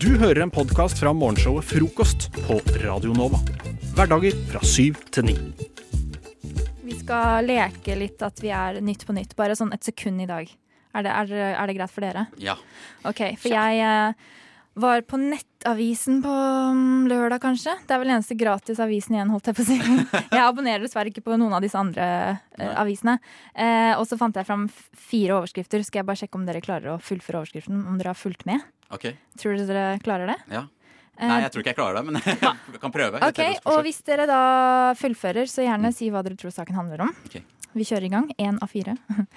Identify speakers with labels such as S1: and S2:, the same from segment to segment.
S1: Du hører en podkast fra morgenshowet Frokost på Radio Nova. Hverdager fra syv til ni.
S2: Vi skal leke litt at vi er Nytt på nytt, bare sånn et sekund i dag. Er det, er, er det greit for dere?
S3: Ja.
S2: Ok, for jeg eh, var på Nettavisen på mm, lørdag, kanskje. Det er vel eneste gratis avisen igjen, holdt jeg på å si. Jeg abonnerer dessverre ikke på noen av disse andre eh, avisene. Eh, og så fant jeg fram f- fire overskrifter. Skal jeg bare sjekke om dere klarer å fullføre overskriften? Om dere har fulgt med?
S3: Ok.
S2: Tror dere dere klarer det?
S3: Ja.
S2: Eh,
S3: Nei, jeg tror ikke jeg klarer det, men jeg kan prøve.
S2: Ok, Og hvis dere da fullfører, så gjerne si hva dere tror saken handler om.
S3: Mm. Ok.
S2: Vi kjører i gang. Én av fire.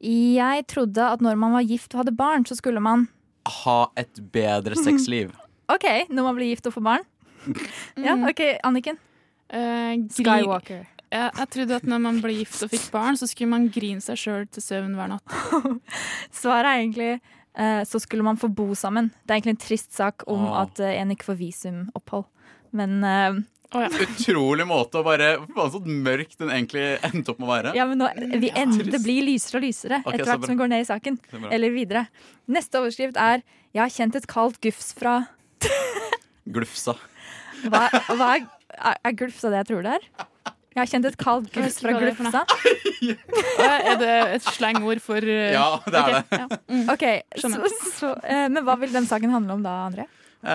S2: Jeg trodde at når man var gift og hadde barn, så skulle man
S3: Ha et bedre sexliv.
S2: OK, når man blir gift og får barn. Ja, OK, Anniken.
S4: Eh, gri-
S2: Skywalker.
S4: Jeg, jeg trodde at når man ble gift og fikk barn, så skulle man grine seg sjøl til søvn hver natt.
S2: Svaret er egentlig eh, så skulle man få bo sammen. Det er egentlig en trist sak om
S3: Åh.
S2: at eh, en ikke får visumopphold. Men, eh,
S3: Utrolig måte å bare Fy faen, så mørk den egentlig endte opp med å være.
S2: ja, men nå, vi ender, det
S3: Trist.
S2: blir lysere og lysere
S3: Ok, så
S2: etter hvert
S3: bra.
S2: som vi går ned i saken.
S3: Det er bra.
S2: Eller videre. Neste overskrift er 'Jeg har kjent et kaldt gufs fra'
S3: Glufsa.
S2: Hva, hva er, er, er glufsa det jeg tror det er? Jeg har kjent et kaldt gufs fra
S4: hva det er for
S2: glufsa.
S4: Og Er det et slengord for eh,
S3: Ja, det er
S4: ok,
S3: det.
S4: ja. Mm.
S2: Ok, så,
S4: Skjønner.
S2: så, eh, Men hva vil den saken handle om da, André?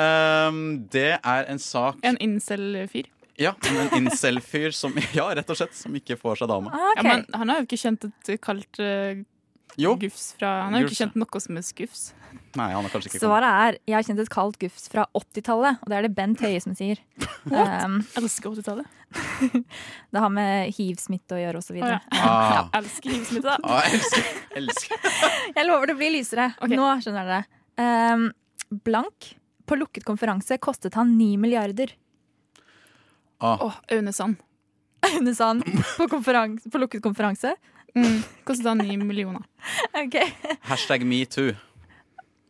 S3: Ehm, det er en sak
S4: En incel-fyr.
S3: Ja, om en incel-fyr som Ja, rett og slett. Som ikke får seg dame.
S2: Ah, ok.
S4: Ja, men han har jo ikke kjent et kaldt eh,
S3: Jo.
S4: gufs fra Han har jo
S3: Gufs,
S4: ikke kjent noe som er gufs.
S3: Nei, han er kanskje ikke kommet.
S2: Svaret er 'Jeg har kjent et kaldt gufs fra 80-tallet', og det er det Bent Høie som sier. Um,
S4: Elsker 80-tallet.
S2: det har med hiv-smitte å gjøre osv.
S4: Å, ja.
S3: Ah.
S4: Elsker hivsmitte.
S3: Ah, jeg elsker, jeg elsker.
S2: Jeg lover det blir lysere.
S4: Ok.
S2: Nå skjønner dere. Um, blank på lukket konferanse kostet han 9 milliarder.
S3: Ah.
S4: Å, Aune Sand.
S2: Aune Sand på, konferans- på lukket konferanse.
S4: Mm. Kostet han ni millioner.
S2: Ok.
S3: Hashtag metoo.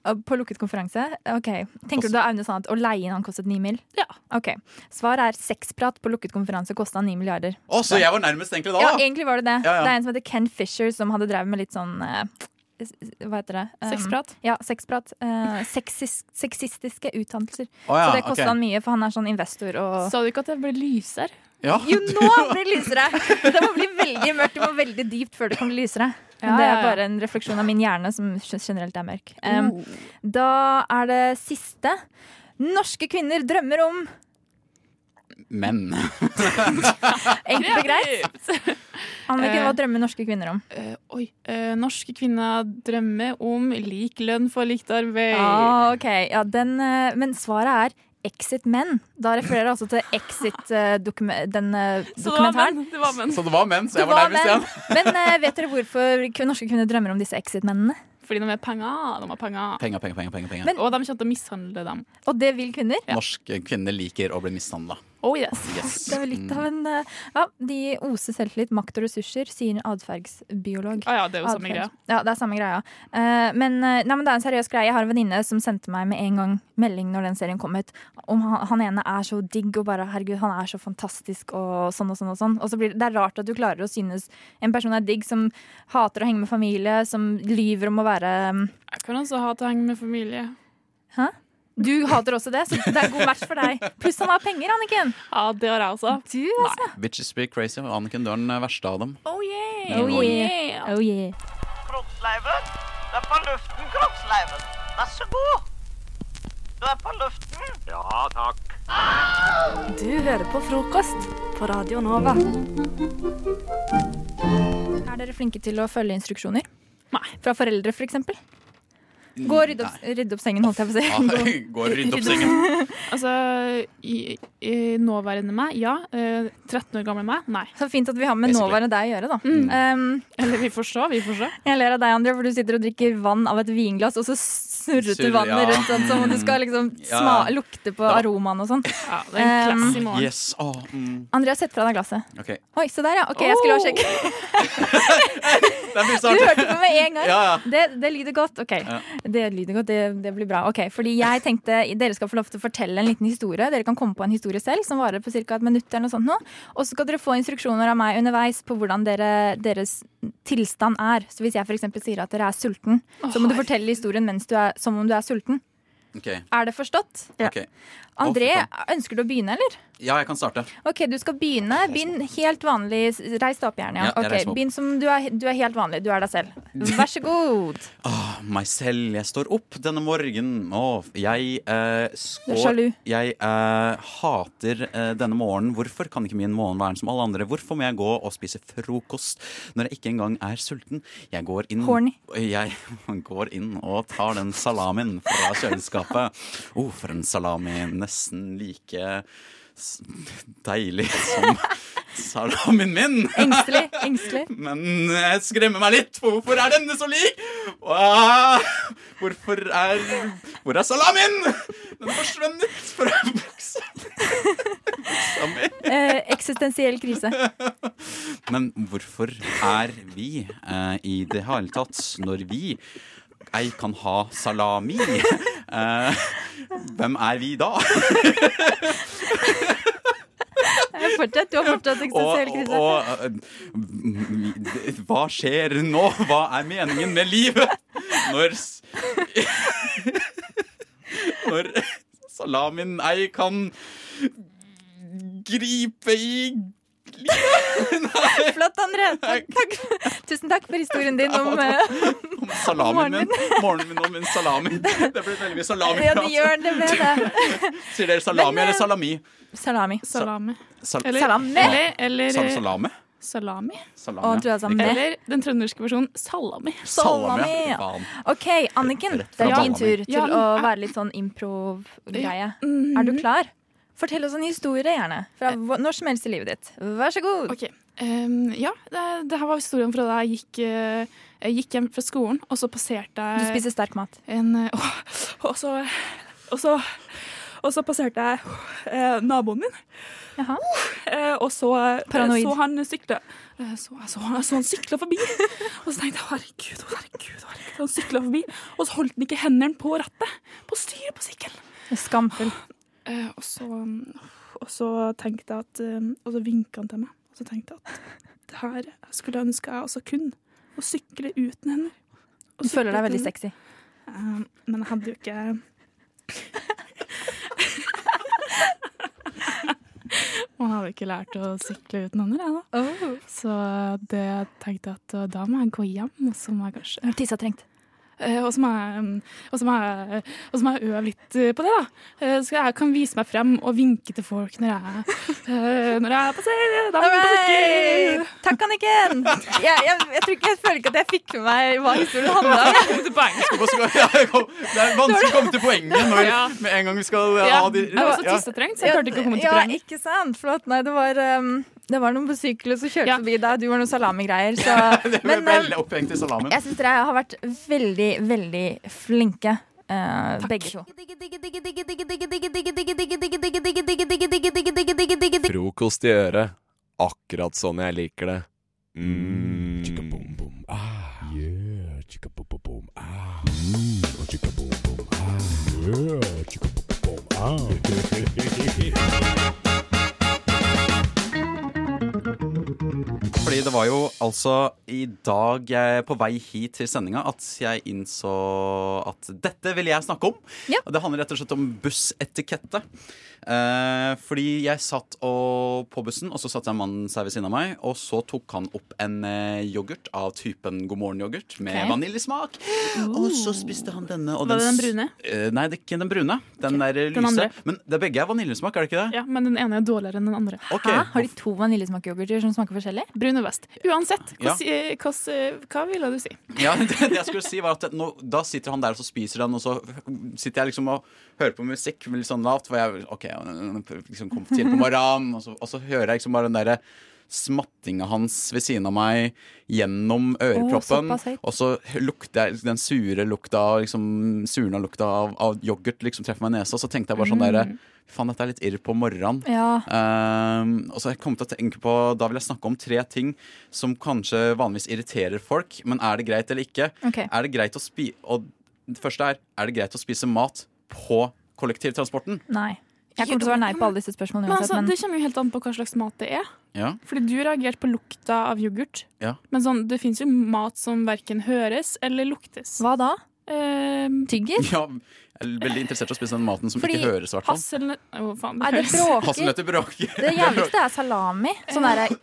S2: På lukket konferanse? Ok. Tenker du da Aune Sand at å leie inn han kostet ni mil?
S4: Ja.
S2: Ok. Svaret er sexprat på lukket konferanse kosta ni milliarder.
S3: Å, så jeg var nærmest egentlig da!
S2: Ja,
S3: da.
S2: egentlig var det det.
S3: Ja, ja.
S2: Det er en som heter Ken Fisher, som hadde drevet med litt sånn eh, s- Hva heter det? Um,
S4: Sexprat.
S2: Ja, sexprat. Eh, sexis sexistiske uttalelser.
S3: Å, ja,
S2: så det kosta
S3: ok.
S2: han mye, for han er sånn investor og
S4: Sa du ikke at det ble lysere?
S3: Ja.
S2: Jo, nå blir det lysere! Det må bli veldig mørkt, det må veldig dypt før det kan bli lysere. Men det
S4: Ja, ja, Mm.
S2: er
S4: ja.
S2: bare en refleksjon av min hjerne, som generelt er mørk. Um, Da er det siste. Norske kvinner drømmer om
S3: Men
S2: Enkelt og greit. Anniken, hva drømmer norske kvinner om?
S4: Eh, oi. Eh, norske kvinner drømmer om lik lønn for likt arbeid.
S2: Ah, ok, ja, den, eh, Men svaret er Exit menn. Da refererer jeg altså til Exit, eh, dokume- den eh,
S4: Så det var
S2: dokumentaren.
S4: menn, Det var menn.
S3: Så det var menn, så
S2: Det
S3: jeg var
S2: var
S3: nærmest igjen.
S2: Men eh, vet dere hvorfor kvin- norske kvinner drømmer om disse Exit-mennene?
S4: Fordi de er penger. De har penger.
S3: Penger, penger, penger. penger, penger.
S2: Men-
S4: Og de kommer til å mishandle dem.
S2: Og det vil kvinner.
S3: Norske kvinner liker å bli mishandla.
S4: Oh yes.
S3: Yes.
S2: Det er vel litt av en eh, Ja, de oser selvtillit, makt og ressurser, sier en atferdsbiolog.
S4: Ah, ja, det er jo samme greia.
S2: Atferd. Ja, det er samme greia. Eh, men, eh, nei, men det er en seriøs greie. Jeg har en venninne som sendte meg med en gang melding når den serien kom ut, om han, han ene er så digg og bare herregud, han er så fantastisk og sånn og sånn og sånn. Og så blir det, det er rart at du klarer å synes en person er digg som hater å henge med familie, som lyver om å være um,
S4: Jeg kan også ha til å henge med familie.
S2: Du hater også det, så det er en god match for deg. Pluss han har penger, Anniken.
S4: Ja, det har jeg også.
S2: Du, altså.
S3: Bitches be crazy. og Anniken, du er den eh, verste av dem.
S4: Oh yeah.
S2: Oh, yeah.
S4: yeah.
S2: Oh yeah.
S5: kroppsleiven. Du er på luften, kroppsleiven. Vær så god. Du er på luften. Ja, takk.
S6: Du hører på frokost på Radio Nova.
S2: Er dere flinke til å følge instruksjoner?
S4: Nei.
S2: Fra foreldre, for eksempel? Gå og rydde opp, rydde opp sengen, holdt jeg på å si.
S3: Ja, Gå og rydde opp sengen.
S4: Altså, i, i nåværende meg, ja. Eh, 13 år gamle meg, nei. Mm.
S2: Så fint at vi har med
S3: Basically.
S2: nåværende deg å gjøre, da. Um,
S4: Eller vi får se, vi får se.
S2: jeg ler av deg, André, for du sitter og drikker vann av et vinglass, og så snurret du
S3: Surr,
S2: vannet
S3: ja.
S2: rundt sånn, som om du skal liksom
S3: Ja.
S2: sma lukte på
S3: var-
S2: aromaen og sånn.
S4: Ja, det er en
S2: Um,
S4: klass i morgen.
S3: Yes. Åh, mm.
S2: André, sett fra deg glasset.
S3: OK.
S2: Oi, se der, ja. Ok, jeg skulle ha
S4: Oh!
S2: sjekk.
S3: Den blir
S2: Du
S3: snart.
S2: hørte på med en gang.
S3: Ja, ja.
S2: Det, det lyder godt. Ok,
S3: Ja.
S2: det lyder godt, det, det blir bra. Ok, fordi jeg tenkte Dere skal få lov til å fortelle en liten historie. Dere kan komme på en historie selv som varer på ca. et minutt. eller noe sånt nå. Og så skal dere få instruksjoner av meg underveis på hvordan dere, deres tilstand er. Så hvis jeg f.eks. sier at dere er sulten, så må du fortelle historien mens du er, som om du er sulten.
S6: Ok,
S2: Er det forstått?
S7: Ja.
S6: ok.
S2: André,
S6: Å,
S2: ønsker du å begynne, eller?
S6: Ja, jeg kan starte.
S2: Ok, du skal begynne. Begynn helt vanlig. Reis deg opp, gjerne. Ja.
S6: Ja, jeg
S2: Ok,
S6: reiser meg opp.
S2: Begynn som du er, du er helt vanlig. Du er deg selv. Vær så god.
S6: Åh, meg selv, jeg står opp denne morgenen. Åh, jeg eh, skår-
S2: Du er sjalu.
S6: Jeg eh, hater eh, denne morgenen. Hvorfor kan ikke min morgen være som alle andre? Hvorfor må jeg gå og spise frokost når jeg ikke engang er sulten? Jeg går inn,
S2: Horny.
S6: Jeg går inn og tar den salamien fra kjøleskapet. Oh, for en salami. Nesten like s- deilig som salamien min.
S2: Engstelig. engstelig.
S6: Men jeg skremmer meg litt, for hvorfor er denne så lik? Åh, Hvorfor er Hvor er salamien? Den forsvunnet fra buksa Buksa mi.
S2: Eh, eksistensiell krise.
S6: Men hvorfor er vi eh, i det hele tatt, når vi ei kan ha salami? Eh, hvem er vi da?
S2: Eh, Fortsett. Du har fortsatt eksistensiell
S6: Og,
S2: krise.
S6: og, og eh, hva skjer nå? Hva er meningen med livet? Når s- Når salamien ei kan gripe i
S2: Flott, André. Takk, takk. Tusen takk for historien din om eh,
S6: om salamien min. Morgenen min og min salami. Det blir veldig mye salami.
S2: Ja, det gjør det. ble det.
S6: Sier dere salami
S2: Men, eh,
S6: eller salami?
S2: Salami.
S4: Salami.
S6: Sal
S4: Eller,
S2: Salami.
S4: Eller, eller
S6: sal salame?
S4: salami.
S2: Å,
S6: Salami.
S2: du er sammen med det.
S4: Eller den trønderske versjonen salami.
S2: salami, ja.
S6: Faen.
S2: OK, Anniken.
S6: Rett
S2: Det
S6: fra
S2: er din
S6: banen.
S2: tur til
S4: Ja, men-
S2: å være litt sånn improv-greie.
S4: Mhm.
S2: Er du klar? Fortell oss en historie, gjerne. Fra hva- når som helst i livet ditt. Vær så god.
S4: Ok, ehm, ja, det, det her var historien fra da jeg gikk, eh, jeg gikk hjem fra skolen, og så passerte
S2: Du
S4: jeg
S2: spiser sterk mat.
S4: en eh, og, og, så, og, så, og så passerte jeg eh, naboen min,
S2: Jaha.
S4: eh, og så,
S2: Paranoid.
S4: så han sykle. eh, Så, så, så han sykla forbi, og så tenkte jeg herregud, å, herregud, å, herregud. Han sykla forbi, og så holdt han ikke hendene på rattet, på styret på sykkelen.
S2: Skamfull.
S4: Eh, og, så, og så tenkte jeg at eh, Og så vinka han til meg. Og så tenkte jeg at det her skulle jeg ønske jeg også kunne. Å sykle uten hender.
S2: Du
S4: Å
S2: føler
S4: sykle
S2: deg veldig
S4: uten
S2: sexy.
S4: hender. Eh, men jeg hadde jo ikke Man hadde ikke lært å sykle uten hender, jeg da. Så det tenkte jeg at eh, da må jeg gå hjem, og så må jeg kanskje
S2: Tissa trengt.
S4: Eh, Og så må jeg, mm, og så må jeg, og så må jeg øve litt eh, på det, da. Eh, Så jeg kan vise meg frem og vinke til folk når jeg, eh, når jeg passerer damen på sykkel.
S2: Alright. Takk, Anniken. Jeg, jeg, jeg, tror ikke, jeg føler ikke at jeg fikk med meg hva historien handla om.
S6: Hva skal- ja, jeg kom- Det er vanskelig å komme til poenget når,
S4: Ja.
S6: med en gang vi skal eh,
S4: Ja,
S6: ha de
S4: jeg var også tissetrengt, så jeg klarte ikke å komme til
S2: ja,
S4: poenget.
S2: ikke sant? Flott. Nei, det var, um, det var noen på sykkel som kjørte
S4: Ja.
S2: forbi deg, og du var noen salamigreier. Så.
S6: Det ble
S2: Men um,
S6: veldig opphengt i salamen.
S2: jeg syns dere har vært veldig, veldig flinke. eh, begge to.
S8: Frokost i øret. Akkurat sånn jeg liker det. Mm.
S6: Fordi det var jo altså i dag eh, på vei hit til sendinga at jeg innså at dette ville jeg snakke om.
S2: Ja.
S6: Og Det handler rett og slett om bussetikette. Eh, fordi jeg satt og, på bussen, og så satt jeg mannen seg ved siden av meg. Og så tok han opp en eh, yoghurt av typen God morgen-yoghurt med
S2: Ok.
S6: vaniljesmak. Og så spiste han denne. Og
S4: Var det
S6: s-
S4: den brune?
S6: Eh, nei, det er ikke den brune. Den der lyse.
S4: andre.
S6: Men det er begge er vaniljesmak, er det ikke det?
S4: Ja, men den ene er dårligere enn den andre.
S6: Ok.
S2: Hæ? Har de to vaniljesmakyoghurter som smaker forskjellig?
S4: Brun og best. Uansett, hva,
S6: Ja.
S4: si- eh, hva, si- hva ville du si?
S6: Ja, det, det jeg skulle si var at nå, Da sitter han der og så spiser han, og så sitter jeg liksom og hører på musikk med litt sånn lavt. For jeg ok, liksom kom tidlig på morgenen, og så, og så hører jeg liksom bare den derre smattinga hans ved siden av meg gjennom øreproppen.
S2: såpass høyt.
S6: og så lukter jeg den sure lukta av liksom, surna lukta av, av yoghurt liksom treffer meg i nesa, og så tenkte jeg bare
S4: Mm.
S6: sånn derre Faen, dette er litt irr på morgenen.
S2: Ja.
S6: Ehm, og så jeg kom til å tenke på Da vil jeg snakke om tre ting som kanskje vanligvis irriterer folk. Men er det greit eller ikke?
S2: Ok.
S6: Er det greit å spi og det første er Er det greit å spise mat på kollektivtransporten?
S2: Nei. Jeg kommer til å svare nei på alle disse spørsmålene
S4: Men
S2: uansett,
S4: altså,
S2: men
S4: Det kommer jo helt an på hva slags mat det er.
S6: Ja.
S4: Fordi du reagerte på lukta av yoghurt.
S6: Ja.
S4: Men sånn, det fins jo mat som verken høres eller luktes.
S2: hva da?
S4: Eh,
S2: Tygger?
S6: ja Jeg er veldig interessert i å spise den maten som
S2: Fordi
S6: ikke høres, i hvert fall.
S4: Hasselnøtt Å, faen.
S2: Nei, det
S4: høres-
S2: bråker.
S6: Hasselnøtter bråker.
S2: Det jævligste er salami. Sånn der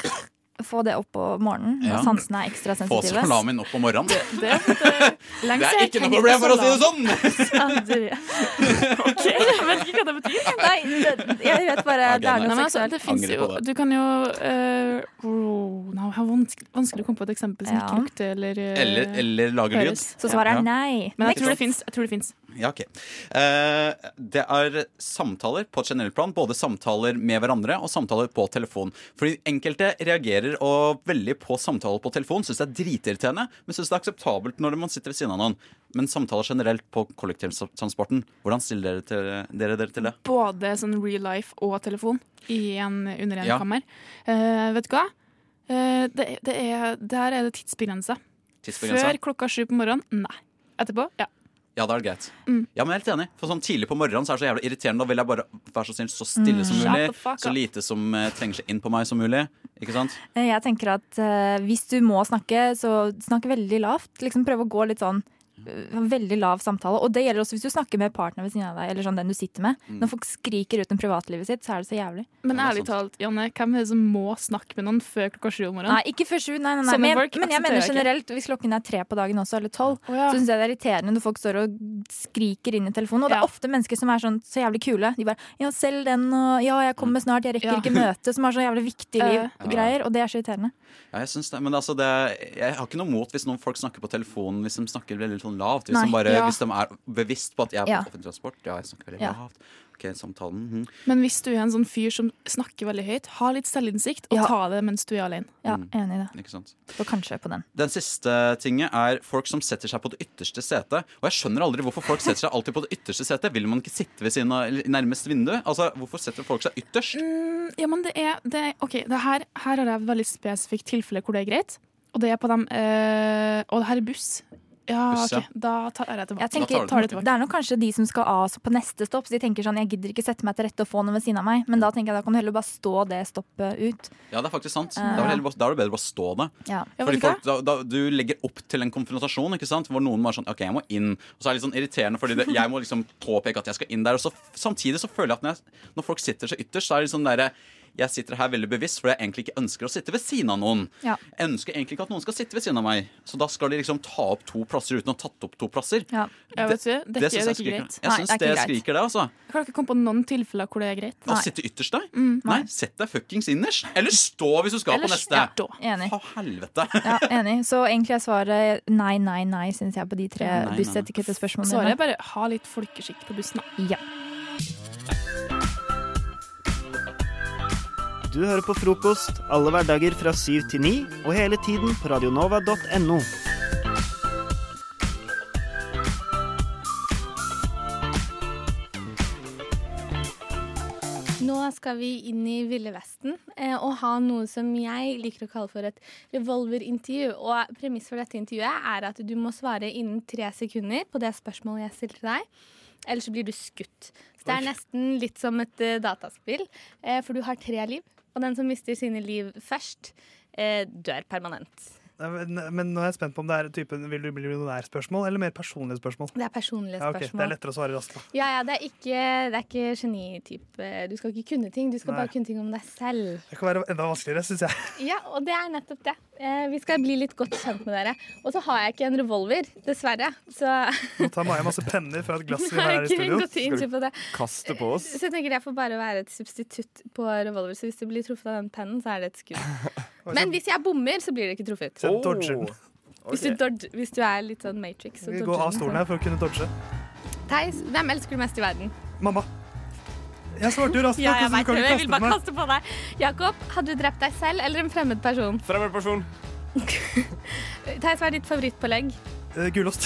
S2: Få det opp på morgenen når
S6: Ja.
S2: sansene er ekstra
S6: Få
S2: sensitive.
S6: salamien opp om morgenen.
S4: Det,
S6: Det
S2: eh,
S4: det, lenge
S6: er ikke noe problem, for å si det sånn!
S4: OK, jeg vet ikke hva det betyr.
S2: Nei, det, jeg vet bare
S6: Ja,
S2: det er
S6: greit.
S4: Nei,
S2: noe
S4: men altså,
S2: seksuelt.
S4: det finnes
S6: Angrer
S4: jo
S6: på det.
S4: Du kan jo eh, oh, no, det er vanskelig, vanskelig å komme på et eksempel som
S2: Ja.
S4: ikke lukter eller, eh,
S6: Eller, eller lager lyd.
S4: høres.
S2: Så svaret er
S6: Ja.
S2: nei.
S4: Men jeg
S2: Next.
S4: tror det fins. Jeg tror det fins.
S6: Ja, ok. Eh, det er samtaler på et generelt plan. Både samtaler med hverandre og samtaler på telefon. Fordi enkelte reagerer og veldig på samtaler på telefon. Syns det er dritirriterende, men syns det er akseptabelt når man sitter ved siden av noen. Men samtaler generelt på kollektivtransporten, hvordan stiller dere, til, dere dere til det?
S4: Både sånn real life og telefon i en, under en
S6: Ja.
S4: kammer. Eh, vet du hva? Eh, det, det er, der er det tidsbegrensa.
S6: Tidsbegrensa?
S4: Før klokka sju på morgenen? Nei. Etterpå? Ja.
S6: Ja, da er det greit.
S4: Mm.
S6: Ja, men jeg er helt enig. For sånn tidlig på morgenen så er det så jævlig irriterende. Da vil jeg bare være så snill så stille som
S4: Mm.
S6: mulig.
S4: Shut the fuck
S6: Så
S4: up.
S6: lite som eh, trenger seg inn på meg som mulig. Ikke sant?
S2: Jeg tenker at eh, hvis du må snakke, så snakk veldig lavt. Liksom Prøv å gå litt sånn eh, Veldig lav samtale. Og det gjelder også hvis du snakker med partneren ved siden av deg. Eller sånn den du sitter med Når folk skriker ut om privatlivet sitt, så er det så jævlig.
S4: Men
S6: Mm. Ja, det er
S4: ærlig talt, Janne, hvem er det som må snakke med noen før klokka sju om morgenen?
S2: Nei, ikke før sju. Nei, nei, nei.
S4: Sånne
S2: Men,
S4: folk
S2: jeg- men jeg mener
S4: aksepterer
S2: generelt, hvis klokken er tre på dagen også, eller tolv,
S4: Å, ja.
S2: så syns jeg det er irriterende når folk står og skriker inn i telefonen. Og det er
S4: Ja.
S2: ofte mennesker som er sånn så jævlig kule. De bare 'ja, selg den', og 'ja, jeg kommer snart, jeg rekker
S4: Ja.
S2: ikke møtet', som har så jævlig viktig liv
S4: Eh.
S2: og greier. Og det er så irriterende.
S6: Ja, jeg syns det. Men altså, det, jeg har ikke noe mot hvis noen folk snakker på telefonen hvis de snakker veldig sånn lavt. Hvis,
S2: Nei,
S6: de, bare,
S4: ja.
S6: hvis de er bevisst på at jeg er på
S2: Ja.
S6: offentlig transport. Ja, jeg snakker veldig
S2: Ja.
S6: lavt. Ok, samtalen. mhm.
S4: Men hvis du er en sånn fyr som snakker veldig høyt, ha litt selvinnsikt, og
S2: Ja.
S4: ta det mens du er alene.
S2: Ja,
S6: Mm.
S2: enig i det.
S6: Ikke sant.
S2: Så kanskje på den.
S6: Den siste tinget er folk som setter seg på det ytterste setet. Og jeg skjønner aldri hvorfor folk setter seg alltid på det ytterste setet. Vil man ikke sitte ved siden av eller nærmest vindu? Altså, hvorfor setter folk seg ytterst?
S2: Mm.
S4: Ja, men det er, det er OK, det her, her har jeg et veldig spesifikt tilfelle hvor det er greit, og det er på dem eh, Og det her er buss. Ja,
S6: Buss, ja.
S4: OK, da tar jeg det tilbake.
S2: Jeg tenker,
S6: tar du den
S4: tar det
S2: det,
S4: tilbake.
S2: er nok kanskje de som skal av på neste stopp, så de tenker sånn 'jeg gidder ikke sette meg til rette og få noen ved siden av meg', men da tenker jeg da kan du heller bare stå det stoppet ut.
S6: Ja, det er faktisk sant.
S2: Eh.
S6: Da er det heller bare- da er det bedre å bare stå det.
S2: Ja.
S4: Ja, vet
S6: Fordi
S4: du hva?
S6: folk, da, da, du legger opp til en konfrontasjon ikke sant? hvor noen bare sånn OK, jeg må inn. Og så er det litt sånn irriterende, fordi det, jeg må liksom påpeke at jeg skal inn der. Og så, samtidig så føler jeg at når, jeg, når folk sitter så ytterst, så er det litt sånn derre jeg sitter her veldig bevisst, for jeg egentlig ikke ønsker å sitte ved siden av noen.
S2: Ja.
S6: Jeg ønsker egentlig ikke at noen skal sitte ved siden av meg. Så da skal de liksom ta opp to plasser uten å ha tatt opp to plasser.
S2: Ja.
S4: Ja, vet du, det, er ikke-
S6: synes
S4: det er
S6: jeg
S4: ikke
S6: skriker.
S4: greit.
S2: Nei,
S6: Jeg syns
S2: det er
S6: det,
S2: ikke greit.
S6: skriker, det, altså.
S4: Jeg kan ikke komme på noen tilfeller hvor det er greit.
S6: Å
S2: Nei.
S6: sitte ytterst der? nei. sett deg fuckings innerst! Eller stå hvis du skal
S4: Mm, Eller
S6: på neste.
S4: stå.
S2: Enig.
S6: Å, helvete.
S2: Ja, enig. Så egentlig er svaret nei, nei, nei, syns jeg, på de tre
S6: nei.
S2: bussetikettespørsmålene.
S4: Svaret er bare ha litt folkeskikk på bussen. da.
S2: Ja.
S5: Du hører på frokost alle hverdager fra syv til ni, og hele tiden på radionova.no.
S9: Nå skal vi inn i Ville Vesten eh, og ha noe som jeg liker å kalle for et revolverintervju. Og premiss for dette intervjuet er at du må svare innen tre sekunder på det spørsmålet jeg stiller til deg. Ellers så blir du skutt. Så det er nesten litt som et eh, dataspill, eh, for du har tre liv. Og den som mister sine liv først, eh, dør permanent.
S10: Nei, Men, men nå er jeg spent på om det er typen vil du bli millionær-spørsmål eller mer personlige spørsmål.
S9: Det er personlige
S10: Ja, ok,
S9: spørsmål.
S10: Det er lettere å svare raskt. da.
S9: Ja, ja, det er ikke, det er ikke genitype. Du skal ikke kunne ting, du skal
S10: Nei.
S9: bare kunne ting om deg selv.
S10: Det kan være enda vanskeligere, syns jeg.
S9: Ja, og det er nettopp det. Eh, vi skal bli litt godt kjent med dere. Og så har jeg ikke en revolver, dessverre. Så
S10: Nå tar Maja masse penner fra et glass
S9: jeg
S10: vi har
S9: har
S10: her i
S9: ikke
S10: studio.
S9: gått inn på det.
S11: Kast det på oss.
S9: Så jeg tenker jeg får bare være et substitutt på revolver. Så hvis du blir truffet av den pennen, så er det et skudd. Men hvis jeg bommer, så blir det ikke truffet. Oh.
S10: Så jeg dodger den.
S9: Hvis du, dodge, hvis du er litt sånn Matrix. Så sånn.
S10: Vi går av stolen her for å kunne dodge.
S9: Theis, hvem elsker du mest i verden?
S10: Mamma! Jeg svarte jo raskt
S9: Ja,
S10: nok,
S9: jeg
S10: så du
S9: vet
S10: kan
S9: det.
S10: ikke
S9: Jeg vil
S10: kaste på
S9: bare
S10: meg.
S9: kaste på deg. Jakob, hadde du drept deg selv eller en fremmed person?
S11: Fremmedperson.
S9: Theis, hva er ditt favorittpålegg?
S10: Eh, Gulost.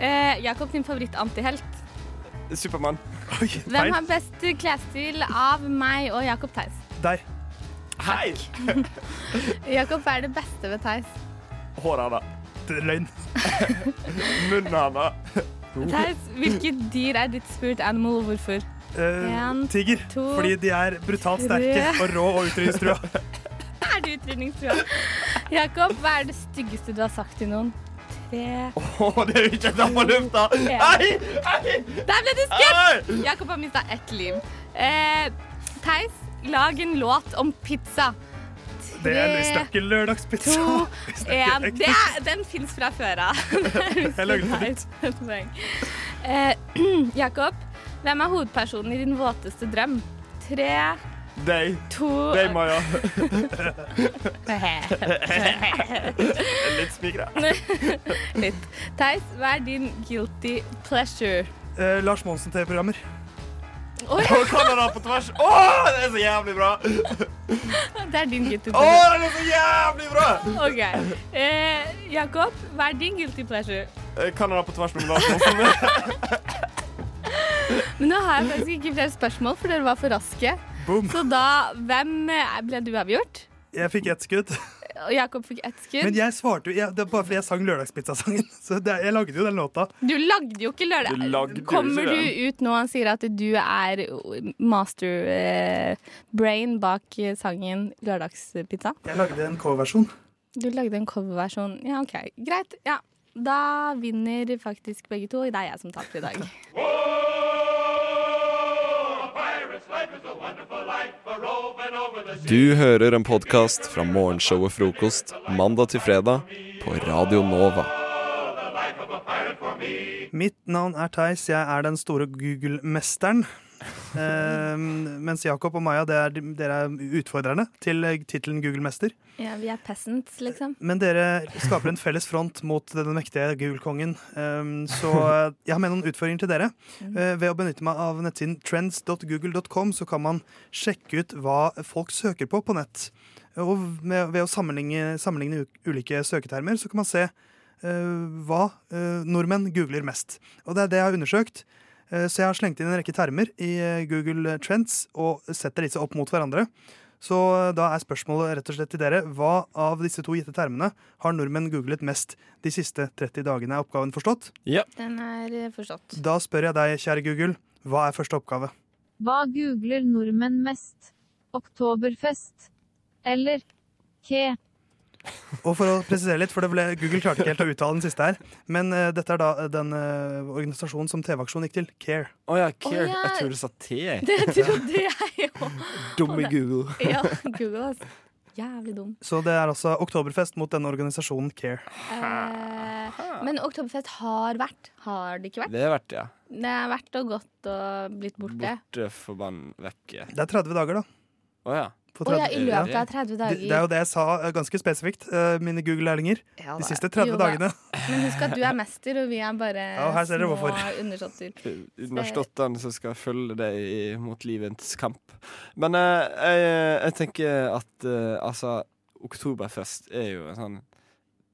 S9: Eh, Jakob, din favoritt-antihelt?
S11: Supermann.
S10: Oi,
S9: Hvem
S10: feil.
S9: har best klesstil av meg og Jakob Theis?
S10: Deg.
S11: Hei!
S9: Jakob hva er det beste ved Theis.
S11: Håret hennes.
S10: Det er Løgn.
S11: Munnen hennes.
S10: Oh.
S9: Theis, hvilket dyr er ditt spirit animal, og hvorfor? En,
S10: Eh, tiger.
S9: to,
S10: Fordi de er brutalt sterke
S9: tre.
S10: og rå og utrydningstrua.
S9: Er du utrydningstrua? Jakob, hva er det styggeste du har sagt til noen? det
S12: Åh, det er jo ikke deg på lufta!
S9: Ja.
S12: Ei! Ei!
S9: Der ble det skutt! Jakob har mista ett liv. Eh, Theis, lag en låt om pizza.
S10: Det er, vi snakker lørdagspizza.
S9: to,
S10: Vi
S9: en.
S10: snakker
S9: Det,
S10: ekte
S9: er- den fins fra før av.
S10: Jeg lagde på
S9: Theis, et poeng. Eh, Jakob, hvem er hovedpersonen i din våteste drøm? Tre,
S12: Deg.
S9: to
S12: Deg, Maja.
S9: Litt
S12: smigra.
S9: Litt. Theis, hva er din guilty pleasure?
S10: Eh, Lars Monsen-TV-programmer.
S9: Oi.
S12: Og Canada på tvers. Åh, det er så jævlig bra!
S9: Det er din guilty
S12: Åh,
S9: pleasure.
S12: det er så jævlig bra!
S9: OK. Eh, Jakob, hva er din guilty pleasure?
S12: Eh, Canada på tvers med Lars Monsen.
S9: Men nå har jeg faktisk ikke flere spørsmål, for dere var for raske.
S10: Boom.
S9: Så da, hvem eh, ble du avgjort?
S10: Jeg fikk ett skudd.
S9: Og Jakob fikk ett
S10: Men
S9: skudd.
S10: jeg svarte jo jeg, Det var bare fordi jeg sang lørdagspizzasangen. Så det, jeg lagde jo den låta.
S9: Du lagde jo ikke lørdag.
S10: Du lagde jo ikke
S9: Kommer du
S10: det.
S9: ut nå og sier at du er master eh, brain bak eh, sangen Lørdagspizza?
S10: Jeg lagde en coverversjon.
S9: Du lagde en coverversjon. Ja, OK. Greit. Ja. Da vinner faktisk begge to. Det er jeg som taper i dag.
S8: Du hører en podkast fra morgenshowet Frokost mandag til fredag på Radio Nova.
S10: Mitt navn er Theis, jeg er den store Google-mesteren. Ehm, mens Jakob og Maja, det er, de- dere er utfordrerne til eh, tittelen Google-mester.
S9: Ja, vi er peasants, liksom.
S10: Men dere skaper en felles front mot den mektige Google-kongen. Ehm, så jeg har med noen utfordringer til dere. Eh, ved å benytte meg av nettsiden trends.google.com så kan man sjekke ut hva folk søker på på nett. Og med, ved å sammenligne, sammenligne u- ulike søketermer så kan man se eh, hva eh, nordmenn googler mest. Og det er det jeg har undersøkt. Eh, så jeg har slengt inn en rekke termer i eh, Google Trends og setter disse opp mot hverandre. Så eh, da er spørsmålet rett og slett til dere hva av disse to gitte termene har nordmenn googlet mest de siste 30 dagene? Er oppgaven forstått?
S8: Ja.
S9: Den er eh, forstått.
S10: Da spør jeg deg, kjære Google, hva er første oppgave?
S13: Hva googler nordmenn mest? Oktoberfest. Eller ke.
S10: Og for å presisere litt, for det ble, Google klarte ikke helt å uttale den siste her, men eh, dette er da eh, den eh, organisasjonen som TV-aksjonen gikk til, Care.
S11: Å ja,
S9: Å
S11: care.
S9: ja.
S11: Jeg tror du sa te.
S9: Det trodde jeg òg.
S11: Dumme Google.
S9: Ja, Google, altså. Jævlig dum.
S10: Så det er altså Oktoberfest mot denne organisasjonen Care.
S9: Eh, men Oktoberfest har vært. Har det ikke vært?
S11: Det er verdt det.
S9: Det er vært og gått og blitt borte.
S11: Borte forbann vekk.
S10: Det er 30 dager, da.
S11: Å ja.
S10: På
S9: Å ja, i
S10: 30
S9: løpet av 30
S10: Det,
S9: dager.
S10: det er jo det jeg sa eh, ganske spesifikt, eh, mine Google-lærlinger.
S9: Ja,
S10: de
S9: da.
S10: siste 30
S9: Jo da.
S10: dagene.
S9: Men husk at du er mester, og vi er bare
S10: Ja, her ser dere
S9: små
S10: hvorfor.
S9: undersåtter.
S11: Underståttene som skal følge deg i- mot livets kamp. Men eh, jeg, jeg tenker at eh, altså Oktoberfest er jo en sånn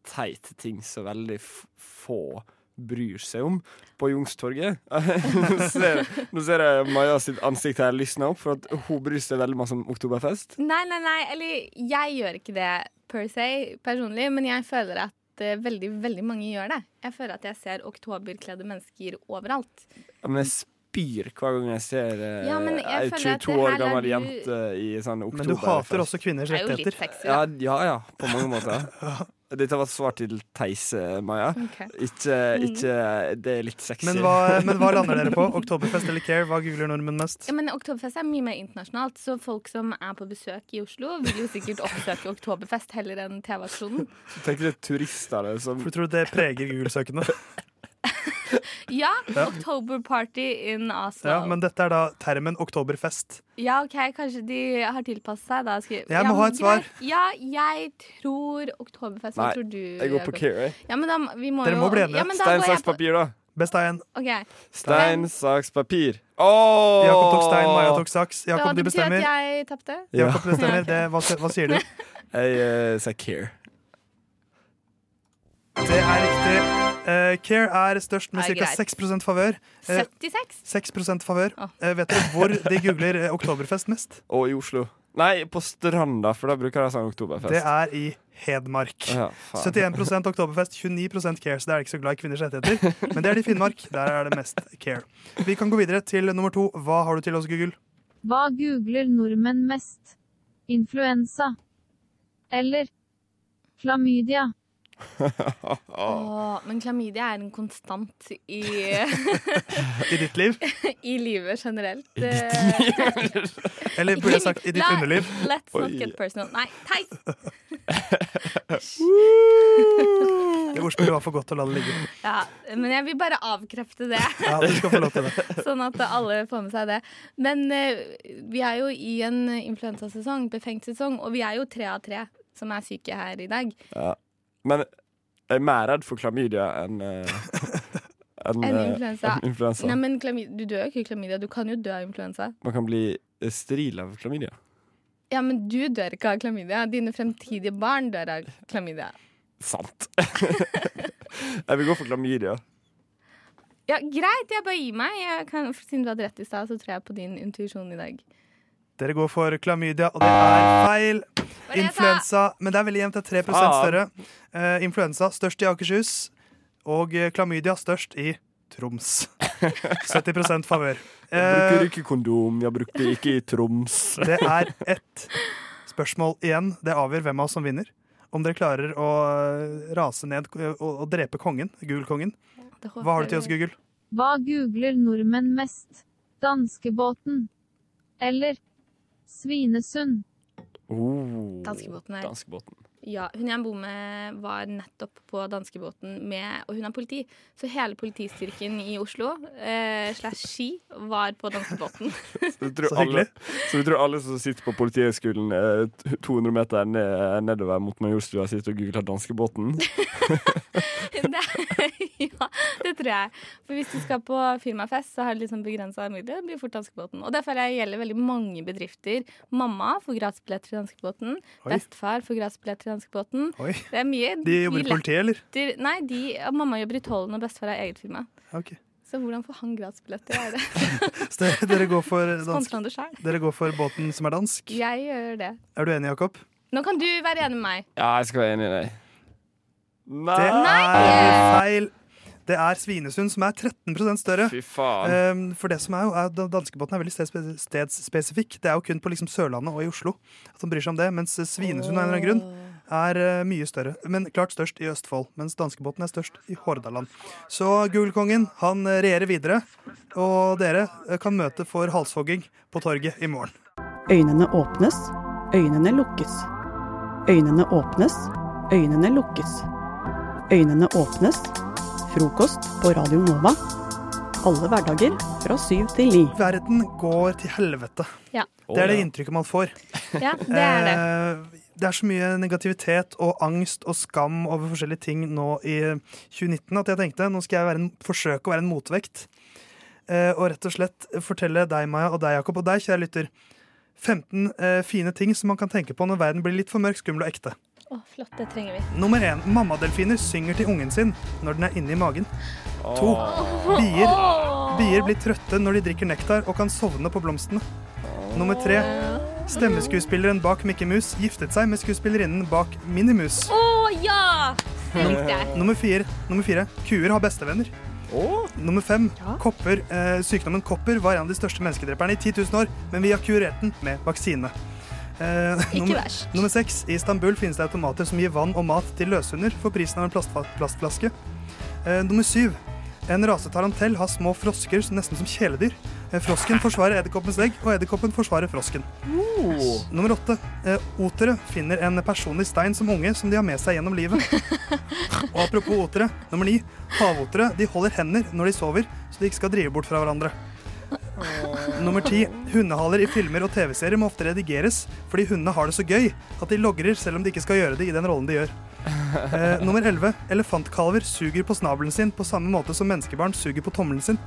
S11: teit ting som veldig f få bryr seg om på Youngstorget. nå, ser, nå ser jeg Maja sitt ansikt her lysne opp, for at hun bryr seg veldig masse om Oktoberfest.
S9: Nei, nei, nei. Eller jeg gjør ikke det per se personlig, men jeg føler at eh, veldig, veldig mange gjør det. Jeg føler at jeg ser oktoberkledde mennesker overalt.
S11: Men jeg spyr hver gang jeg ser eh,
S9: Ja, men jeg
S11: ei
S9: føler at
S11: 22
S9: det
S11: år
S9: her er
S11: gammel
S9: du-
S11: jente i sånn Oktoberfest.
S10: Men du hater også kvinners
S9: Det er jo litt rettigheter. sexy,
S11: ja,
S9: da.
S11: ja, ja, på mange måter. Dette var et svar til Theise, Maja.
S9: Ok. Mm.
S11: Ikke, ikke Det er litt sexy.
S10: Men hva, men hva lander dere på? Oktoberfest eller Care? Hva googler nordmenn mest?
S9: Ja, men Oktoberfest er mye mer internasjonalt, så folk som er på besøk i Oslo, vil jo sikkert oppsøke Oktoberfest heller enn TV-aksjonen.
S11: Tenk deg turister det, som
S10: For du tror det preger Google-søkende?
S9: Ja,
S10: Ja.
S9: Oktober Party in Oslo.
S10: Ja, men dette er da termen oktoberfest.
S9: Ja, OK, kanskje de har tilpasset seg. Da skal...
S10: Jeg må ha et svar.
S9: Ja, jeg tror Oktoberfest. Hva
S10: Nei,
S9: tror du?
S10: jeg går på
S9: Jakob?
S10: Keri.
S9: Ja, men da, vi må
S10: Dere
S9: jo...
S10: må bli enige.
S9: Ja, men da går jeg på...
S11: da.
S10: Best av én.
S9: Ok.
S11: Stein, saks, papir. Åh!
S10: Jakob tok stein, Maja tok saks.
S9: Ja,
S10: Jakob,
S9: det
S10: du
S9: betyr
S10: bestemmer.
S9: at jeg tapte.
S10: Jakob
S11: Ja.
S10: bestemmer. Det, hva, hva sier du?
S11: Jeg eh, sier care.
S10: Det er riktig. Eh, Care er størst med
S9: Nei,
S10: ca.
S9: greit.
S10: 6 favør. Eh,
S9: 76?
S10: 6 favør. Eh, vet dere hvor de googler eh, oktoberfest mest?
S11: Og i Oslo. Nei, på Stranda, for da bruker de sånn Oktoberfest.
S10: Det er i Hedmark.
S11: Ja, faen.
S10: 71 oktoberfest, 29 care, så det er ikke så glad i kvinners rettigheter. Men det er det i Finnmark. Der er det mest care. Vi kan gå videre til nummer to. Hva har du til oss, Google?
S13: Hva googler nordmenn mest? Influensa. Eller klamydia.
S10: Ah.
S9: Åh, men klamydia er en konstant i,
S10: I ditt liv?
S9: i livet generelt.
S10: I ditt
S9: liv?
S10: Eller burde jeg sagt i ditt underliv?
S9: Let's not
S10: Oi.
S9: get personal. Nei, teit!
S10: Det ordspillet var for godt å la det ligge.
S9: Ja, men jeg vil bare avkrefte det.
S10: Ja, du skal få lov til det.
S9: Sånn at alle får med seg det. Men eh, vi er jo i en influensasesong, befengt sesong, og vi er jo tre av tre som er syke her i dag.
S11: Ja. Men jeg er mer redd for klamydia enn eh, enn,
S9: En
S11: eh,
S9: influensa.
S11: enn influensa.
S9: Nei, men klamy- du dør jo ikke av klamydia. Du kan jo dø av influensa.
S11: Man kan bli eh, steril av klamydia.
S9: Ja, men du dør ikke av klamydia. Dine fremtidige barn dør av klamydia.
S11: Sant. jeg vil gå for klamydia.
S9: Ja, greit, jeg bare gir meg. Jeg kan, siden du hadde rett i stad, så tror jeg på din intuisjon i dag.
S10: Dere går for klamydia, og det er feil. Influensa, men det er veldig jevnt. Det er 3 større. Eh, influensa størst i Akershus, og eh, klamydia størst i Troms. 70 favør.
S11: Jeg
S10: Eh,
S11: bruker ikke kondom, jeg bruker ikke i Troms.
S10: det er ett spørsmål igjen. Det avgjør hvem av oss som vinner. Om dere klarer å eh, rase ned eh, og, og drepe kongen, Google-kongen. Hva har du til oss, Google?
S13: Hva googler nordmenn mest? Danskebåten. Eller Svinesund.
S11: Oh.
S9: Danskebåten her.
S11: Danskebåten.
S9: Ja, hun jeg bor med var nettopp på danskebåten med, og hun er politi. Så hele politistyrken i Oslo, eh, slash Ski, var på danskebåten.
S11: Så vi tror,
S10: Så
S11: alle,
S10: hyggelig.
S11: så vi tror alle som sitter på Politihøgskolen eh, t- 200 meter ned, nedover mot Majorstua, sitter og googler danskebåten?
S9: det, ja, det tror jeg. For hvis du skal på firmafest, så har du liksom begrensa midler. Det blir fort danskebåten. Og det føler jeg gjelder veldig mange bedrifter. Mamma får gratisbillett til danskebåten.
S10: Oi.
S9: Bestefar får gratisbillett til danskebåten.
S10: Oi.
S9: Det er mye.
S10: De jobber i politiet, eller?
S9: letter- Nei, de, mamma jobber i tollen, og bestefar har eget firma.
S10: Ok.
S9: Så hvordan får han gratisbillett? Det er det.
S10: Så dere, dere, går for
S9: Sponser
S10: dansk,
S9: han det selv?
S10: dere går for båten som er dansk.
S9: Jeg gjør det.
S10: Er du enig, Jakob?
S9: Nå kan du være enig med meg.
S11: Ja, jeg skal være enig i deg. Nei!
S10: Det er feil. Det er Svinesund som er 13 større.
S11: Fy faen.
S10: Ehm, for det som er jo, er da- Danskebåten er veldig stedspe- stedsspesifikk. Det er jo kun på liksom Sørlandet og i Oslo at de bryr seg om det. Mens eh, Svinesund av en eller annen grunn er eh, mye større. Men klart størst i Østfold. Mens danskebåten er størst i Hordaland. Så Gulkongen han eh, regjerer videre. Og dere eh, kan møte for halshogging på torget i morgen.
S14: Øynene åpnes, øynene lukkes. Øynene åpnes, øynene lukkes. Øynene åpnes. Frokost på Radio Nova. Alle hverdager fra syv til ni.
S10: Verden går til helvete.
S9: Ja.
S10: Det er det inntrykket man får.
S9: Ja, det er det.
S10: Eh, Det er så mye negativitet og angst og skam over forskjellige ting nå i 2019 at jeg tenkte nå skal jeg være en, forsøke å være en motvekt. Eh, Og rett og slett fortelle deg, Maja, og deg, Jakob, og deg, kjære lytter, 15 eh, fine ting som man kan tenke på når verden blir litt for mørk, skummel og ekte.
S9: Å, flott. Det trenger vi.
S10: Nummer én mammadelfiner synger til ungen sin når den er inni magen. To bier, bier blir trøtte når de drikker nektar og kan sovne på blomstene. Nummer tre stemmeskuespilleren bak Mikke Mus giftet seg med skuespillerinnen bak Minimus.
S9: Å ja! Det likte jeg.
S10: Nummer fire, nummer fire kuer har bestevenner. Nummer fem kopper, eh, sykdommen kopper var en av de største menneskedreperne i 10 000 år, men vi har kurert den med vaksine. Eh,
S9: Ikke
S10: nummer,
S9: verst.
S10: nummer seks. I Istanbul finnes det automater som gir vann og mat til løshunder for prisen av en plast, plastflaske. Eh, nummer syv. En rasetarantell har små frosker som nesten som kjæledyr. Eh, frosken forsvarer edderkoppens egg, og edderkoppen forsvarer frosken. Nummer åtte. Eh, otere finner en personlig stein som unge som de har med seg gjennom livet. og apropos otere. Nummer ni. Havotere de holder hender når de sover, så de ikke skal drive bort fra hverandre. Nummer ti. Hundehaler i filmer og TV-serier må ofte redigeres fordi hundene har det så gøy at de logrer selv om de ikke skal gjøre det i den rollen de gjør. Eh, nummer elleve. Elefantkalver suger på snabelen sin på samme måte som menneskebarn suger på tommelen sin.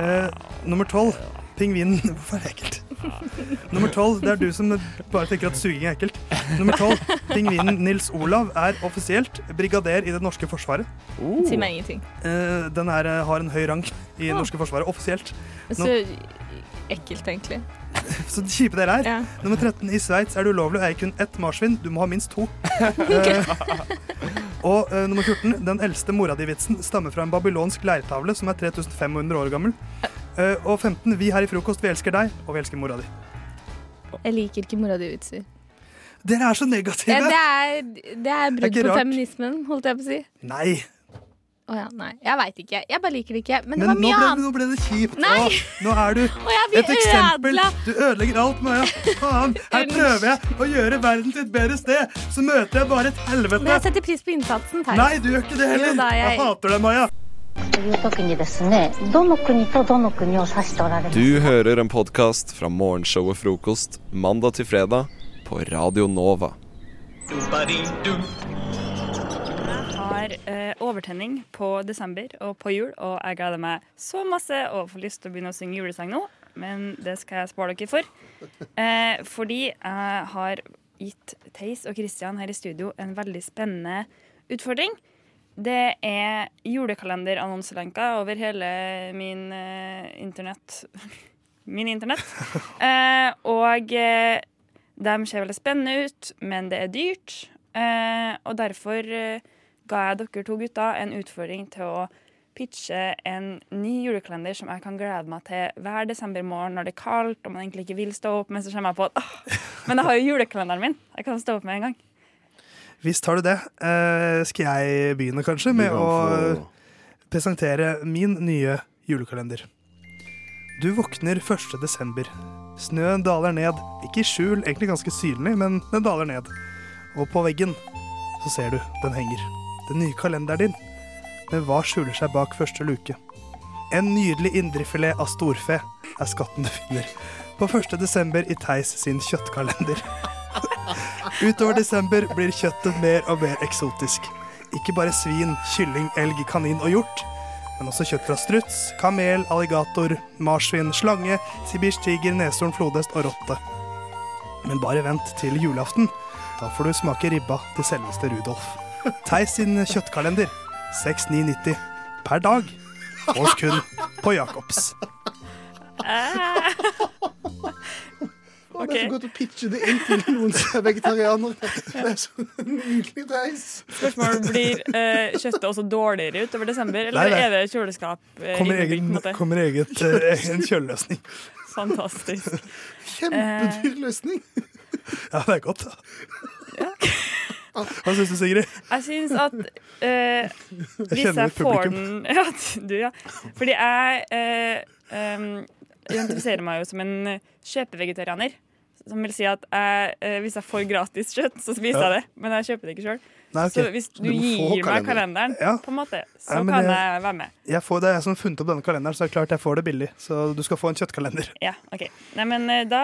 S10: Eh, nummer tolv. Pingvinen Hvorfor er det ekkelt? Nummer tolv. Det er du som bare tenker at suging er ekkelt. Nummer tolv. Pingvinen Nils Olav er offisielt brigader i det norske forsvaret.
S9: Si meg ingenting.
S10: Eh, den er, eh, har en høy rang i det norske forsvaret, offisielt.
S9: Så
S10: Nå-
S9: ekkelt, egentlig.
S10: så kjipe dere er. Nummer 13. I Sveits er det ulovlig å eie kun ett marsvin. Du må ha minst to. Eh, og eh, nummer 14. Den eldste mora di-vitsen stammer fra en babylonsk leirtavle som er 3500 år gammel. Eh, og 15. Vi her i Frokost, vi elsker deg, og vi elsker mora di.
S9: Jeg liker ikke mora di vitser.
S10: Dere er så negative!
S9: Ja, det er, det er
S10: Det er
S9: brudd
S10: ikke
S9: på
S10: rart.
S9: feminismen, holdt jeg på å si.
S10: Nei.
S9: Å ja, nei. Jeg veit ikke. Jeg bare liker det ikke. Men
S10: Men
S9: det var mye
S10: nå ble, nå
S9: annet.
S10: ble det kjipt.
S9: Nei.
S10: Åh, nå er du
S9: jeg blir
S10: et eksempel.
S9: ødela.
S10: Du ødelegger alt, Maja. Faen. Her prøver jeg å gjøre verden til et bedre sted, så møter jeg bare et
S9: Men jeg
S10: helvete.
S9: setter pris på innsatsen. Terje.
S10: Nei, du gjør ikke det
S9: Jo
S10: heller.
S9: da,
S10: Jeg hater deg, Maja.
S15: という時にですねどの国とどの国を指しておられます
S8: Du hører en podkast fra morgenshowet Frokost mandag til fredag på Radio Nova.
S16: Jeg har eh, overtenning på desember og på jul, og jeg gleder meg så masse og får lyst til å begynne å synge julesang nå, men det skal jeg spare dere for. Eh, fordi jeg har gitt Theis og Christian her i studio en veldig spennende utfordring. Det er julekalenderannonselenker over hele min eh, internett. Min internett. Eh, og eh, de ser veldig spennende ut, men det er dyrt. Eh, og derfor eh, ga jeg dere to gutter en utfordring til å pitche en ny julekalender som jeg kan glede meg til hver desembermorgen når det er kaldt og man egentlig ikke vil stå opp, men så kommer jeg på at ah, men jeg har jo julekalenderen min. Jeg kan stå opp med en gang.
S10: Visst har du det. Eh, skal jeg begynne, kanskje, med
S16: Du
S10: å eh,
S16: kan
S10: presentere min nye julekalender? Du våkner 1. desember. Snøen daler ned. Ikke i skjul, egentlig ganske synlig, men den daler ned. Og på veggen så ser du den henger. Den nye kalenderen din. Men hva skjuler seg bak første luke? En nydelig indrefilet av storfe er skatten du finner på 1. desember i Theis sin kjøttkalender. Utover desember blir kjøttet mer og mer eksotisk. Ikke bare svin, kylling, elg, kanin og hjort, men også kjøtt fra struts, kamel, alligator, marsvin, slange, sibirsk tiger, neshorn, flodhest og rotte. Men bare vent til julaften. Da får du smake ribba til selveste Rudolf. Theis sin kjøttkalender 6990 per dag. Fås kun på Jacobs.
S17: Det er så godt å pitche det inn til noen som er vegetarianere. Det er så nydelig, Theis.
S16: Spørsmålet blir eh, kjøttet også dårligere utover desember, eller
S10: Nei, nei.
S16: er det kjøleskap? eh,
S10: Kommer
S16: innebygd, på en
S10: egen,
S16: måte?
S10: kommer eget, eh, egen kjøleløsning.
S16: Fantastisk. Eh,
S17: Kjempedyr løsning.
S10: Ja, det er godt. da. Hva syns du, Sigrid?
S16: altså, Jeg syns at eh, hvis jeg,
S10: kjenner et
S16: får den
S10: publikum.
S16: ja, du, ja. Fordi jeg eh, em, identifiserer meg jo som en eh, kjøpevegetarianer. Som vil si at jeg, eh, hvis jeg får gratis kjøtt, så spiser
S10: Ja.
S16: jeg det. Men jeg kjøper det ikke sjøl.
S10: Nei, ok.
S16: Så hvis
S10: Så
S16: du,
S10: du må få
S16: gir meg
S10: kalenderen.
S16: kalenderen,
S10: Ja.
S16: på en måte, så
S10: Ja, men
S16: kan
S10: det-
S16: jeg være med.
S10: Jeg får, det er jeg som har funnet opp denne kalenderen, så det er klart jeg får det billig. Så du skal få en kjøttkalender.
S16: Ja, ok. Nei, men eh, da,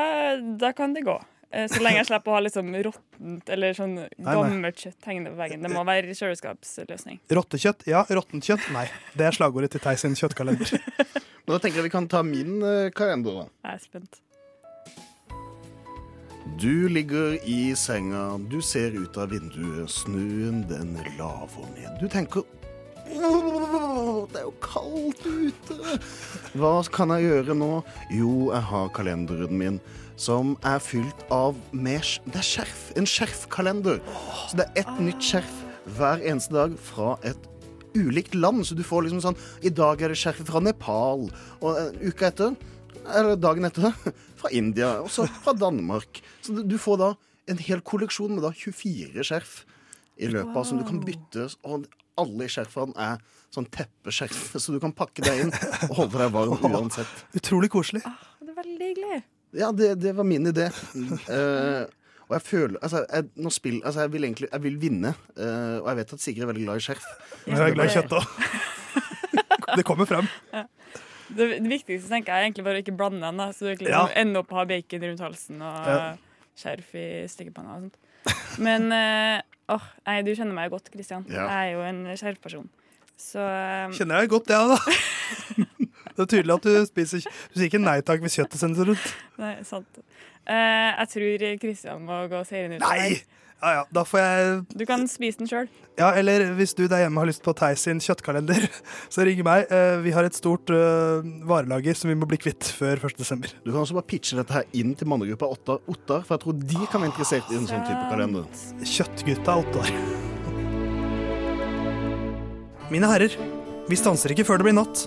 S16: da kan det gå. Eh, Så lenge jeg slipper å ha litt sånn råttent eller sånn
S10: nei.
S16: gammelt kjøtt hengende på veggen. Det må være kjøleskapsløsning.
S10: Rottekjøtt? Ja. Råttent kjøtt? Nei. Det er slagordet til Theis sin kjøttkalender.
S17: Nå tenker jeg vi kan ta min eh, kalender. da.
S16: Jeg er spent.
S17: Du ligger i senga, du ser ut av vinduet, snuen den laver ned. Du tenker «Åh, Det er jo kaldt ute. Hva kan jeg gjøre nå? Jo, jeg har kalenderen min, som er fylt av med skj- Det er skjerf. En skjerfkalender. Så det er ett nytt skjerf hver eneste dag fra et ulikt land. Så du får liksom sånn I dag er det skjerfet fra Nepal. Og eh, uka etter, eller dagen etter, fra India. Og så fra Danmark. Så du- du får da en hel kolleksjon med da 24 skjerf i løpet av som du kan bytte. Og alle skjerfene er sånn teppeskjerf, så du kan pakke deg inn og holde deg varm uansett.
S10: Utrolig koselig.
S16: Det er veldig hyggelig.
S17: Ja, det, det var min idé. Eh, og jeg føler Altså, jeg, nå spill, altså jeg, vil egentlig, jeg vil vinne. eh, og jeg vet at Sigrid er veldig glad i skjerf.
S10: Men jeg er glad i kjøtt òg. Det kommer frem.
S16: Det, det viktigste tenker jeg er egentlig bare å ikke blande den. Da. Så du ikke
S10: Ja.
S16: liksom ender opp med å ha bacon rundt halsen og
S10: Ja.
S16: skjerf i stekepanna og sånt. Men eh, åh, nei, du kjenner meg jo godt, Kristian.
S10: Ja.
S16: Jeg er jo en skjerfperson. Så eh,
S10: Kjenner jeg godt, jeg, da. Det er tydelig at du spiser kj- Du sier ikke nei takk hvis kjøttet sendes rundt.
S16: Nei, sant. Eh, jeg tror Kristian må gå serien ut.
S10: Nei! Ja, ja, da får jeg
S16: Du kan spise den sjøl.
S10: Ja, eller hvis du der hjemme har lyst på Theis sin kjøttkalender, så ring meg. Eh, Vi har et stort eh, varelager som vi må bli kvitt før 1. desember.
S17: Du kan også bare pitche dette her inn til mannegruppa Ottar, Ottar, for jeg tror de kan være interessert i en sånn type kalender.
S10: Kjøttgutta Ottar. Mine herrer, vi stanser ikke før det blir natt.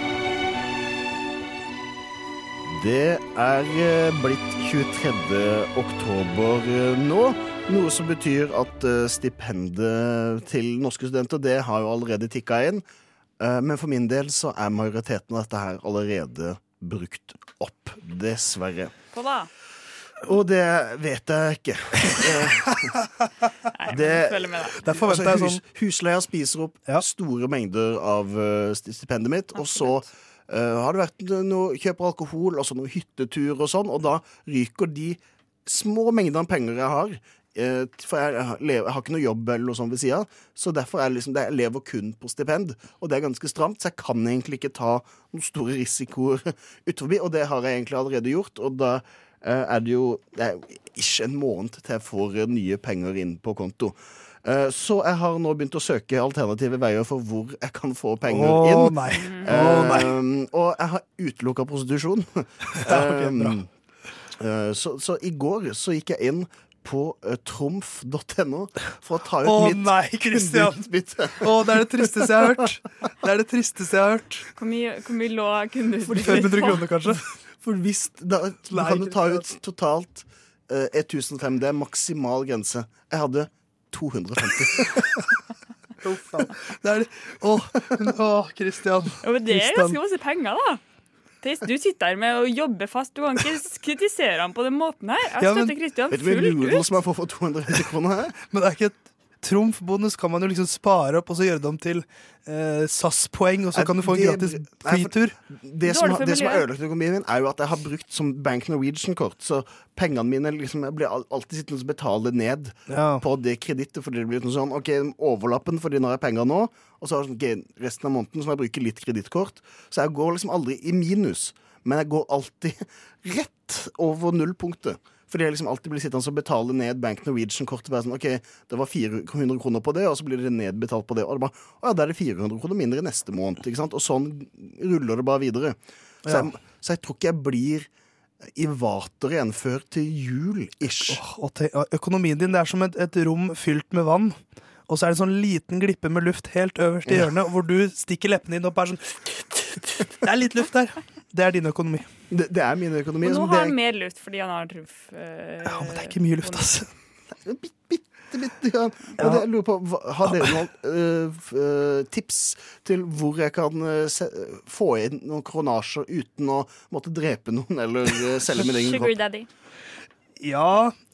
S17: Det er eh, blitt 23. oktober eh, nå, noe som betyr at eh, stipendet til norske studenter det har jo allerede tikka inn. Eh, Men for min del så er majoriteten av dette her allerede brukt opp, dessverre.
S16: Hva da?
S17: Og det vet jeg ikke. Eh, det,
S16: følger med, da.
S10: Derfor venter jeg sånn-
S17: Husleia spiser opp store mengder av eh, st- stipendet mitt, og så eh, har det vært noe kjøp av alkohol og så noe hyttetur og sånn, og da ryker de små mengdene penger jeg har. eh, t- For jeg, har- lever- jeg har ikke noe jobb eller noe sånt ved sida, så derfor er liksom, det- jeg lever kun på stipend. Og det er ganske stramt, så jeg kan egentlig ikke ta noen store risikoer utenfor, og det har jeg egentlig allerede gjort. Og da eh, er det jo det er jo ikke en måned til jeg får eh, nye penger inn på konto. Eh, Så jeg har nå begynt å søke alternative veier for hvor jeg kan få penger
S10: Å,
S17: inn.
S10: nei.
S17: Eh,
S10: Å, nei.
S17: Og jeg har utelukka prostitusjon. Ehm,
S10: bra.
S17: Eh, så, så i går så gikk jeg inn på eh, trumf.no for å ta ut
S10: Å
S17: mitt
S10: nei, Christian!
S17: kundeutbytte.
S10: Å, det er det tristeste jeg har hørt. Det er det tristeste jeg har hørt.
S16: Hvor mye, hvor mye lå kundeutbyttet
S10: 500 kroner, kanskje.
S17: For hvis da, Du
S10: Nei,
S17: kan jo ta ut totalt eh, 1005. Det er maksimal grense. Jeg hadde 250.
S10: Det er det. Å, å, Christian.
S16: Jo, men det er
S10: Christian.
S16: ganske masse penger, da. Theis, Du sitter her med å jobbe fast. Du kan ikke s- kritisere ham på den måten her. Jeg støtter Kristian fullt ut.
S17: som jeg får for 250 kroner her?
S10: Men det er ikke et trumfbonus kan man jo liksom spare opp og så gjøre det om til eh, SAS-poeng, og så kan du få en
S17: det-
S10: gratis
S17: nei, for-
S10: flytur.
S17: Det som, har- det som har ødelagt økonomien min, er jo at jeg har brukt som Bank Norwegian-kort. Så pengene mine liksom, jeg blir al- alltid sittende og betale ned
S10: Ja.
S17: på det kredittet. Fordi det blir sånn, sånn OK, overlappen, fordi nå har jeg penger nå. Og så har jeg sånn, ok, resten av måneden som jeg bruker litt kredittkort. Så jeg går liksom aldri i minus. Men jeg går alltid rett over nullpunktet. Fordi jeg liksom alltid blir sittende og betale ned Bank Norwegian-kortet. Bare sånn, ok, Det var 400 kroner på det, og så blir det nedbetalt på det. Og det bare, å ja, da er det 400 kroner mindre neste måned. ikke sant? Og sånn ruller det bare videre. Så
S10: Ja.
S17: jeg, så jeg tror ikke jeg blir eh, i vater igjen før til jul-ish.
S10: Og te- og økonomien din, det er som et, et rom fylt med vann. Og så er det en sånn liten glippe med luft helt øverst i
S17: Ja.
S10: hjørnet, hvor du stikker leppene dine opp og er sånn Det er litt luft der. Det er din økonomi.
S17: Det, er min
S16: Og
S17: økonomi.
S16: nå har han mer luft fordi han har trumf. eh,
S10: Det er ikke mye luft, ass.
S17: Bitte grann. Og det, jeg lurer på, hva- har dere noen eh, f- eh, tips til hvor jeg kan eh, se, få inn noen kronasjer uten å måtte drepe noen eller eh, selge min egen
S16: Sugar
S17: kropp?
S16: daddy.
S10: Ja,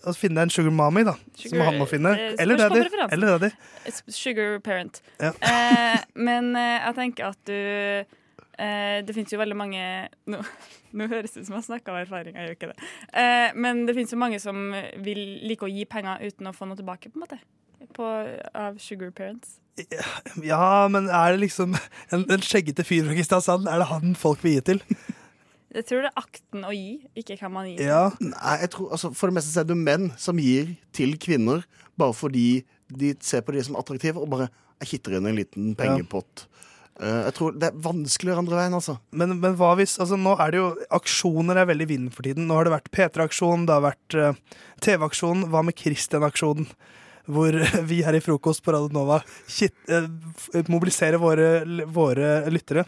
S10: altså, finne deg en sugar mommy, da. som
S16: Sugar-
S10: han må finne.
S16: eh,
S10: Eller
S16: spørs på
S10: daddy.
S16: preferansen.
S10: Eller daddy.
S16: S- Sugar parent.
S10: Ja.
S16: Eh, men eh, jeg tenker at du eh, Det fins jo veldig mange Nå, nå høres det ut som jeg snakker av erfaring, jeg gjør ikke det. Eh, men det fins jo mange som vil like å gi penger uten å få noe tilbake, på en måte. På, av sugar parents.
S10: Ja, men er det liksom en, en skjeggete fyr fra Kristiansand, er det han folk vil gi til?
S16: Jeg tror det er akten å gi, ikke hvem man gir.
S17: Nei, jeg tror, altså, for det meste så er det jo menn som gir til kvinner bare fordi de ser på de som attraktive og bare jeg hitter inn en liten pengepott. Eh, jeg tror Det er vanskeligere andre veien, altså.
S10: Men, men hva hvis, altså nå er det jo, aksjoner er veldig i vinden for tiden. Nå har det vært P3-aksjon, det har vært eh, TV-aksjonen. Hva med Christian-aksjonen? Hvor vi her i Frokost på Radio Nova kitt, eh, f- mobiliserer våre, våre lyttere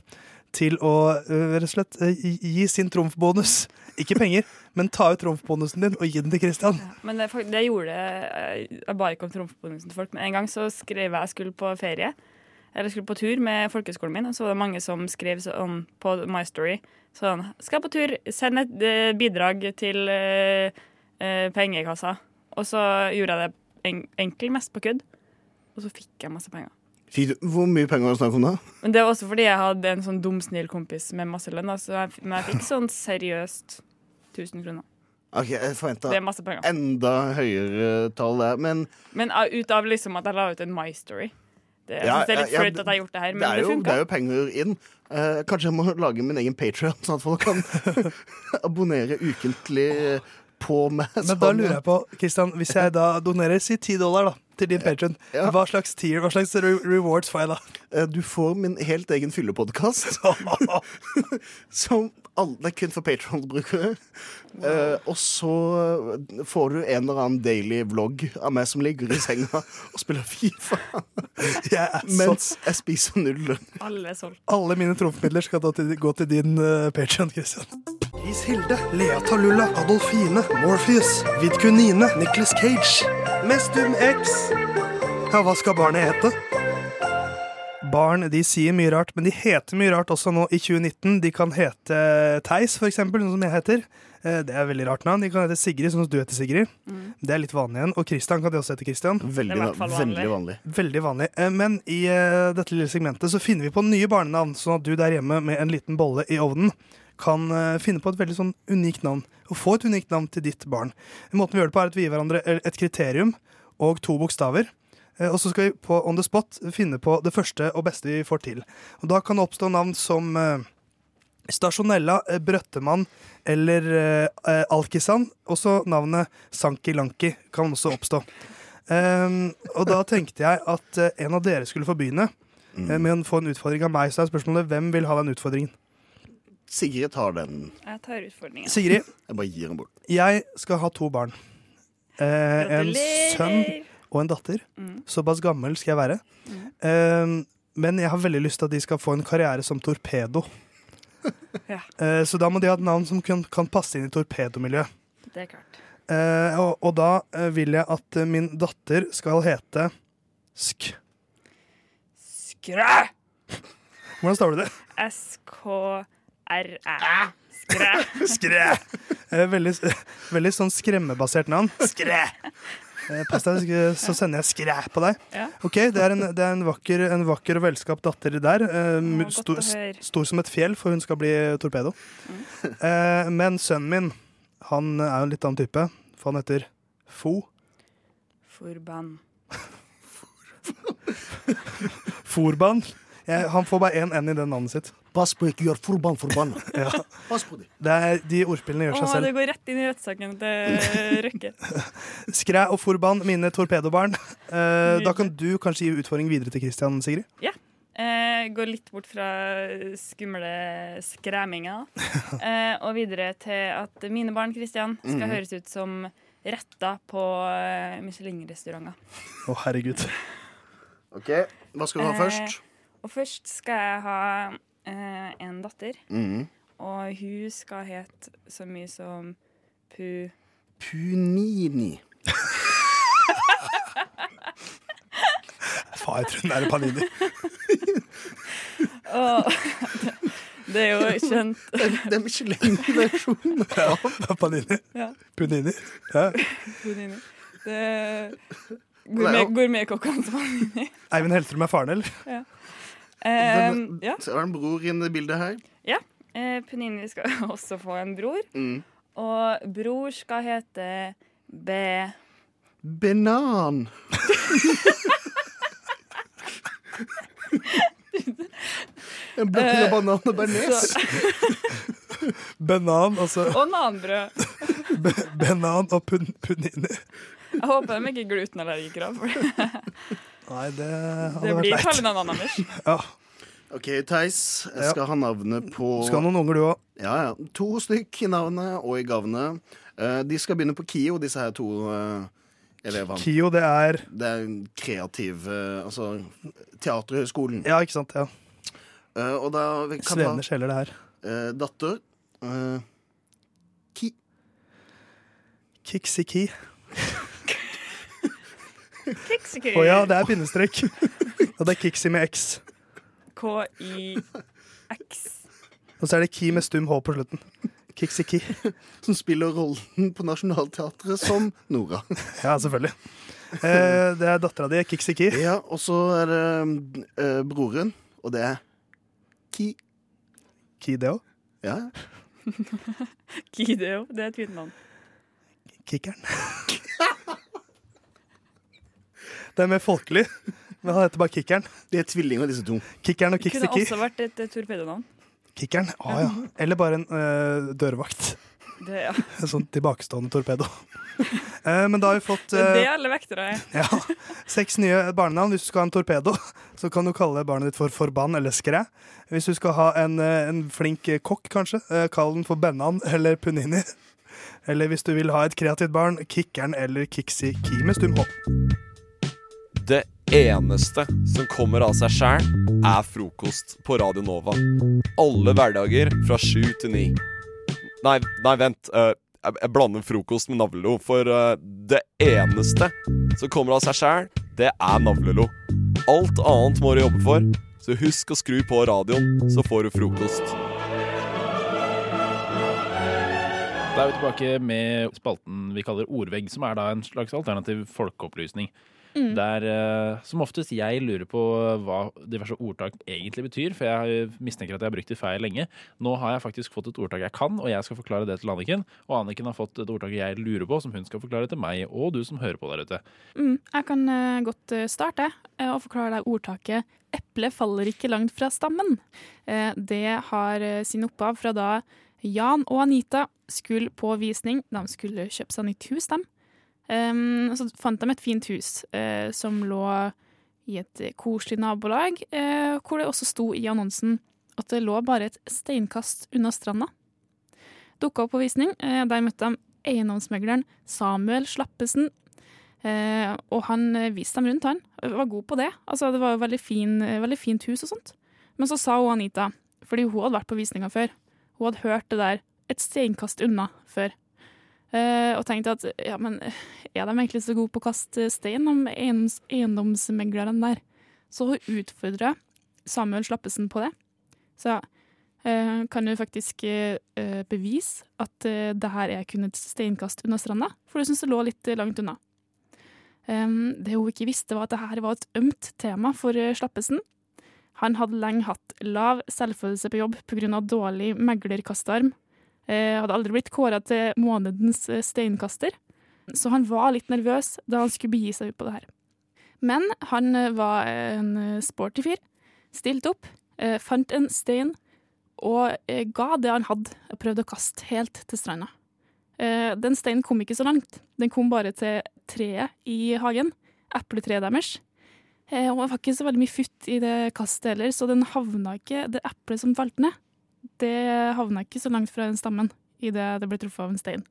S10: til å eh, rett og slett eh, gi gi sin trumfbonus. Ikke penger, men ta ut trumfbonusen din og gi den til Christian.
S16: Men det, fak- det gjorde eh, jeg jeg bare kom trumfbonusen til folk. Men en gang så skrev jeg jeg skulle på ferie. Eller skulle på tur med folkehøyskolen min, og så var det mange som skrev sånn på My Story sånn Skal på tur, send et eh, bidrag til eh, eh, pengekassa. Og så gjorde jeg det en, enkel, mest på kødd. Og så fikk jeg masse penger.
S17: Fikk du- Hvor mye penger var det snakk om da?
S16: Men det var også fordi jeg hadde en sånn dum, snill kompis med masse lønn. da, Så jeg, f- men jeg fikk sånn seriøst 1000 kroner.
S17: Ok, Jeg forventa
S16: Det er masse penger.
S17: enda høyere tall der, men
S16: Men av- ut av liksom at jeg la ut en My Story. Det, jeg
S17: Ja,
S16: synes det er litt
S17: ja, ja,
S16: flaut at jeg har gjort det her, men
S17: det, er
S16: det,
S17: jo, det
S16: funka.
S17: er jo penger inn. Eh, kanskje jeg må lage min egen Patrion, sånn at folk kan abonnere ukentlig på meg.
S10: Men da lurer jeg på, Kristian, hvis jeg da donerer si 10 dollar da, til din patron, hva slags tier, hva slags re rewards får jeg da?
S17: Eh, Du får min helt egen fyllepodkast. Som alle, det er kun for Patron-brukere. Eh, og så får du en eller annen daily vlogg av meg som ligger i senga og spiller Fifa. Mens jeg spiser null lønn.
S16: Alle er solgt.
S10: Alle mine trumfmidler skal da til, gå til din uh, patron, Kristian. Ishilde, Lea Talulla, Adolfine, Morpheus, Vidkunine, Nicholas Cage, Mestum X. Ja, hva skal barnet hete? Barn de sier mye rart, men de heter mye rart også nå i 2019. De kan hete eh, Theis, for eksempel, sånn som jeg heter. Eh, Det er veldig rart navn. De kan hete Sigrid, sånn som du heter Sigrid. Det er litt vanlig igjen. Og Christian kan de også hete Christian.
S17: Veldig, Mm. Det er i hvert fall vanlig. veldig vanlig.
S10: Veldig vanlig. Eh, Men i eh, dette lille segmentet så finner vi på nye barnenavn, sånn at du der hjemme med en liten bolle i ovnen kan eh, finne på et veldig sånn unikt navn. Og få et unikt navn til ditt barn. Måten vi gjør det på, er at vi gir hverandre et kriterium og to bokstaver. Eh, Og så skal vi på On the spot finne på det første og beste vi får til. Og da kan det oppstå navn som eh, Stasjonella, eh, Brøttemann eller eh, eh, Alkisan. Også navnet Sanki Lanki kan også oppstå. Ehm, og da tenkte jeg at eh, en av dere skulle få begynne eh,
S17: Mm.
S10: med å få en utfordring av meg. Så er spørsmålet hvem vil ha den utfordringen?
S17: Sigrid tar den.
S16: Jeg tar utfordringen.
S10: Sigrid,
S17: Jeg bare gir den bort.
S10: jeg skal ha to barn. Eh, en
S16: Gratulerer!
S10: sønn og en datter.
S16: Mm.
S10: Såpass gammel skal jeg være. Eh, men jeg har veldig lyst til at de skal få en karriere som torpedo. Eh, så da må de ha et navn som kan, kan passe inn i torpedomiljøet.
S16: Det er klart.
S10: Eh, og, og da eh, vil jeg at eh, min datter skal hete Sk.
S16: Skræ!
S10: Hvordan staver du det?
S16: S-K-R-æ. Skræ.
S10: Skræ! Eh, veldig, veldig sånn skremmebasert navn. Skræ! Eh, Pass deg, sk- så sender jeg skræ på deg.
S16: Ja.
S10: Ok, Det er en, det er en, vakker, en vakker og velskapt datter der. Eh, mu-
S16: godt
S10: stor,
S16: å høre.
S10: stor som et fjell, for hun skal bli torpedo.
S17: Mm.
S10: Eh, men sønnen min han er jo en litt annen type, for han heter Fo.
S16: Forbann.
S10: Forban. Jeg, han får bare én N i det navnet sitt.
S17: Pass på ikke gjør forban forbanna.
S10: Ja.
S17: Pass på det.
S10: Det er, de ordspillene
S16: Å,
S10: gjør seg selv.
S16: det går rett inn i rettssaken til Røkke.
S10: Skræ og Forban, mine torpedobarn. Eh, da kan du kanskje gi utfordring videre til Christian, Sigrid.
S16: Ja. Eh, går litt bort fra skumle skræminga. Eh, og videre til at mine barn Christian skal
S10: Mhm.
S16: høres ut som retta på eh, Michelin-restauranter.
S10: Å, herregud.
S17: OK, hva skal du ha først?
S16: Eh, og først skal jeg ha eh, en datter.
S17: Mhm.
S16: Og hun skal hete så mye som Pu...
S17: Punini.
S10: Faen, jeg tror den er panini.
S16: Å, det er jo skjønt.
S17: Det er Michelin-versjonen.
S10: Ja, panini.
S16: Ja.
S10: Punini. Ja.
S16: Punini. Det
S10: Nei,
S16: gourmet-
S10: og-
S16: Gourmetkokkene som var inni.
S10: Eivind Hellstrøm er faren, eller?
S16: Ja.
S17: Hvem-
S16: Ehm, ja.
S17: Så er det en bror inne i bildet her.
S16: ja. Eh, Punini skal også få en bror.
S17: Mm.
S16: Og bror skal hete B...
S17: Banan. En blokk
S16: Eh,
S17: med banan og bearnés.
S10: Banan, altså.
S16: Og nanbrød.
S10: Be- Banan og pun punini.
S16: Jeg håper de ikke er glutenallergikere. For det,
S10: Nei, det hadde
S16: det
S10: vært
S16: blir
S10: leit.
S16: kallenavn, Anders.
S17: OK, Theis. Jeg skal ha navnet på
S10: Du skal ha noen unger, du òg.
S17: Ja, ja. To stykk i navnet og i gavnet. Eh, De skal begynne på KIO, disse her to eh, elevene.
S10: Kio, det er
S17: Det er en kreativ eh, Altså Teaterhøgskolen.
S10: Ja, ikke sant? Ja.
S17: Eh, og da vi kan
S10: Svevende sjeler, det her.
S17: eh, datter. eh,
S10: Kiksiki.
S16: Kiksiki.
S10: Å ja, det er bindestrek. Og det er Kiksi med X.
S16: K-i-x.
S10: Og så er det Ki med stum H på slutten. Kiksiki.
S17: som spiller rollen på Nationaltheatret som Nora.
S10: Ja, selvfølgelig. Eh, det er dattera di, Kiksiki.
S17: Ja, og så er det eh, broren, og det er Ki.
S10: Ki, det òg?
S17: Ja.
S16: Kideo. Det er et fint navn.
S10: Kikkeren. Det er mer folkelig, men han heter bare Kikkeren.
S17: De er tvillinger, disse to.
S10: Kikkeren og
S16: Det kunne
S10: Kiksiki.
S16: også vært et eh, torpedonavn.
S10: Kikkeren, ah, ja. Eller bare en eh, dørvakt.
S16: Det, ja.
S10: En sånn tilbakestående torpedo. Eh, Men da har vi fått
S16: det er det
S10: eh,
S16: alle vektere er.
S10: ja, seks nye barnenavn. Hvis du skal ha en torpedo, så kan du kalle barnet ditt for Forbann eller Skræ. Hvis du skal ha en, eh, en flink eh, kokk, kanskje, eh, kall den for Bennan eller Punini. Eller hvis du vil ha et kreativt barn, Kikkeren eller Kiksi Ki med stum H.
S8: Det eneste som kommer av seg sjæl, er frokost på Radio Nova. Alle hverdager fra sju til ni. Nei, nei, vent. eh, jeg jeg blander frokost med navlelo, for eh, det eneste som kommer av seg sjæl, det er navlelo. Alt annet må du jobbe for, så husk å skru på radioen, så får du frokost.
S18: Da er vi tilbake med spalten vi kaller Ordvegg, som er da en slags alternativ folkeopplysning.
S19: Mm.
S18: Der eh, som oftest jeg lurer på hva diverse ordtak egentlig betyr, for jeg mistenker at jeg har brukt det feil lenge. Nå har jeg faktisk fått et ordtak jeg kan, og jeg skal forklare det til Anniken. Og Anniken har fått et ordtak jeg lurer på, som hun skal forklare til meg og du som hører på der ute.
S4: Mm, jeg kan eh, godt eh, starte eh, og forklare deg ordtaket 'eplet faller ikke langt fra stammen'. Eh, det har eh, sin opphav fra da Jan og Anita skulle på visning. De skulle kjøpe seg nytt hus, dem. Em, så fant de et fint hus eh, som lå i et eh, koselig nabolag, eh, hvor det også sto i annonsen at det lå bare et steinkast unna stranda dukka opp på visning. Eh, Der møtte de eiendomsmegleren Samuel Slappesen. Eh, og han eh, viste dem rundt, han. Eh, Var god på det. Altså, det var jo veldig, fin, eh, veldig fint hus og sånt. Men så sa hun Anita, fordi hun hadde vært på visninga før, hun hadde hørt det der et steinkast unna før. Eh, og tenkte at ja, men eh, er de egentlig så gode på å kaste stein, de eiendoms, eiendomsmeglerne der? Så hun utfordra Samuel Slappesen på det. Så eh, kan du faktisk eh, eh, bevise at eh, det her er kun et steinkast unna stranda, for du syns det lå litt eh, langt unna. Em, Ehm, det hun ikke visste, var at det her var et ømt tema for eh, Slappesen. Han hadde lenge hatt lav selvfølelse på jobb pga. dårlig meglerkastarm. Eh, hadde aldri blitt kåra til månedens eh, steinkaster, så han var litt nervøs da han skulle begi seg ut på det her. Men han eh, var en eh, sporty fyr. Stilte opp, eh, fant en stein og eh, ga det han hadde, og prøvde å kaste helt til stranda. Eh, Den steinen kom ikke så langt. Den kom bare til treet i hagen. Epletreet deres. Eh, Og det var ikke så veldig mye futt i det kastet heller, så den havna ikke, det eplet som falt ned, det havna ikke så langt fra den stammen idet det ble truffet av en stein.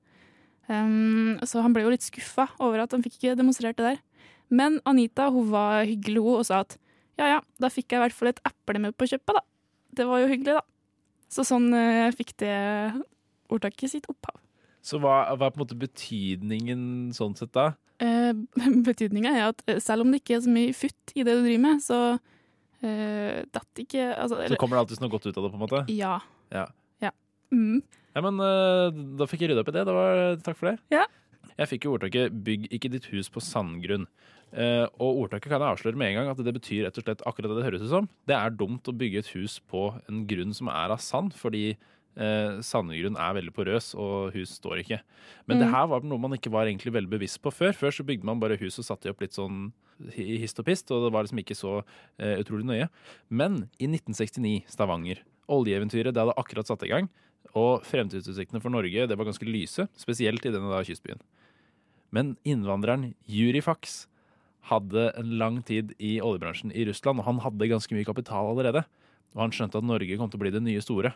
S4: Ehm, så han ble jo litt skuffa over at han fikk ikke demonstrert det der. Men Anita hun var hyggelig hun, og sa at ja ja, da fikk jeg i hvert fall et eple med på kjøpet, da. Det var jo hyggelig, da. Så sånn eh, fikk det ordtaket sitt opphav.
S18: Så hva, hva er på en måte betydningen sånn sett da?
S4: Eh, Betydninga er at eh, selv om det ikke er så mye futt i det du driver med, så eh, datt ikke altså,
S18: Så kommer det alltid noe godt ut av det, på en måte?
S4: Ja.
S18: Ja,
S4: Ja. Mm.
S18: ja men eh, da fikk jeg rydda opp i det. det var, takk for det.
S4: Ja.
S18: Jeg fikk jo ordtaket 'bygg ikke ditt hus på sandgrunn'. Eh, og ordtaket kan jeg avsløre med en gang at det betyr rett og slett akkurat det det høres ut som. Det er dumt å bygge et hus på en grunn som er av sand, fordi eh, sandgrunn er veldig porøs, og hus står ikke. Men det
S19: Mm.
S18: her var noe man ikke var egentlig veldig bevisst på før. Før så bygde man bare hus og satte de opp litt sånn i hist og pist, og det var liksom ikke så eh, utrolig nøye. Men i 1969, Stavanger, oljeeventyret det hadde akkurat satt i gang, og fremtidsutsiktene for Norge det var ganske lyse, spesielt i denne da kystbyen. Men innvandreren Juri Fax hadde en lang tid i oljebransjen i Russland, og han hadde ganske mye kapital allerede. Og han skjønte at Norge kom til å bli det nye store.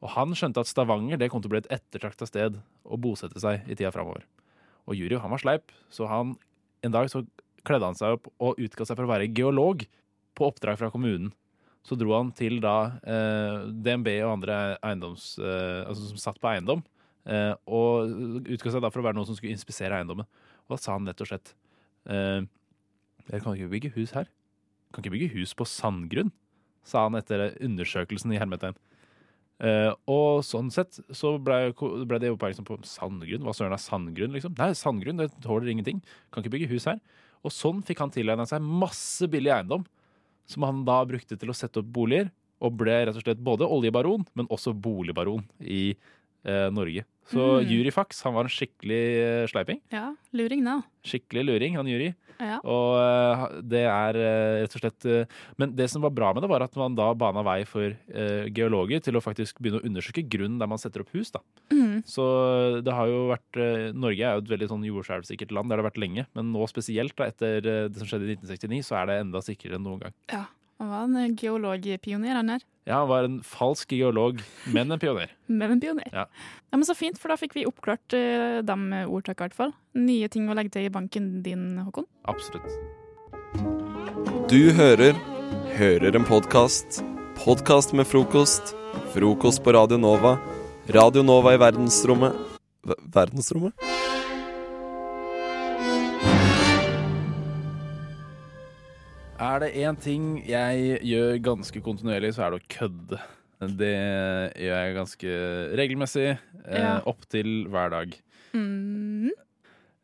S18: Og han skjønte at Stavanger det kom til å bli et ettertrakta sted å bosette seg i tida framover. Og Juri han var sleip, så han, en dag så kledde han seg opp og utga seg for å være geolog på oppdrag fra kommunen. Så dro han til da eh, DNB og andre eiendoms, eh, altså som satt på eiendom, eh, og utga seg da for å være noen som skulle inspisere eiendommen. Og da sa han rett og slett eh, Dere kan ikke bygge hus her. Kan ikke bygge hus på sandgrunn, sa han etter undersøkelsen i hermetegn. Eh, og sånn sett så ble, ble det oppmerksom på sandgrunn. Hva søren er sandgrunn? liksom? Nei, sandgrunn det tåler ingenting. Kan ikke bygge hus her. Og sånn fikk han tilegna seg masse billig eiendom, som han da brukte til å sette opp boliger. Og ble rett og slett både oljebaron, men også boligbaron i eh, Norge. Så
S4: Mm.
S18: Juri Fax han var en skikkelig eh, sleiping.
S4: Ja, luring, da.
S18: Skikkelig luring, han Juri.
S4: Ja.
S18: Og eh, det er eh, rett og slett eh, Men det som var bra med det, var at man da bana vei for eh, geologer til å faktisk begynne å undersøke grunnen der man setter opp hus. da.
S4: Mm.
S18: Så det har jo vært eh, Norge er jo et veldig sånn jordskjelvsikkert land, det har det vært lenge. Men nå spesielt, da, etter eh, det som skjedde i 1969, så er det enda sikrere enn noen gang.
S4: Ja, Han var en geologpioner, han der.
S18: Ja, han var en falsk geolog, men en pioner.
S4: Men en pioner.
S18: Ja.
S4: Ja, men Så fint, for da fikk vi oppklart uh, de ordtakene, i hvert fall. Nye ting å legge til i banken din, Håkon.
S18: Absolutt.
S8: Du hører Hører en podkast. Podkast med frokost. Frokost på Radio Nova. Radio Nova i verdensrommet Ver- Verdensrommet?
S18: Er det én ting jeg gjør ganske kontinuerlig, så er det å kødde. Det gjør jeg ganske regelmessig, eh,
S4: Ja.
S18: opptil hver dag.
S4: Mm.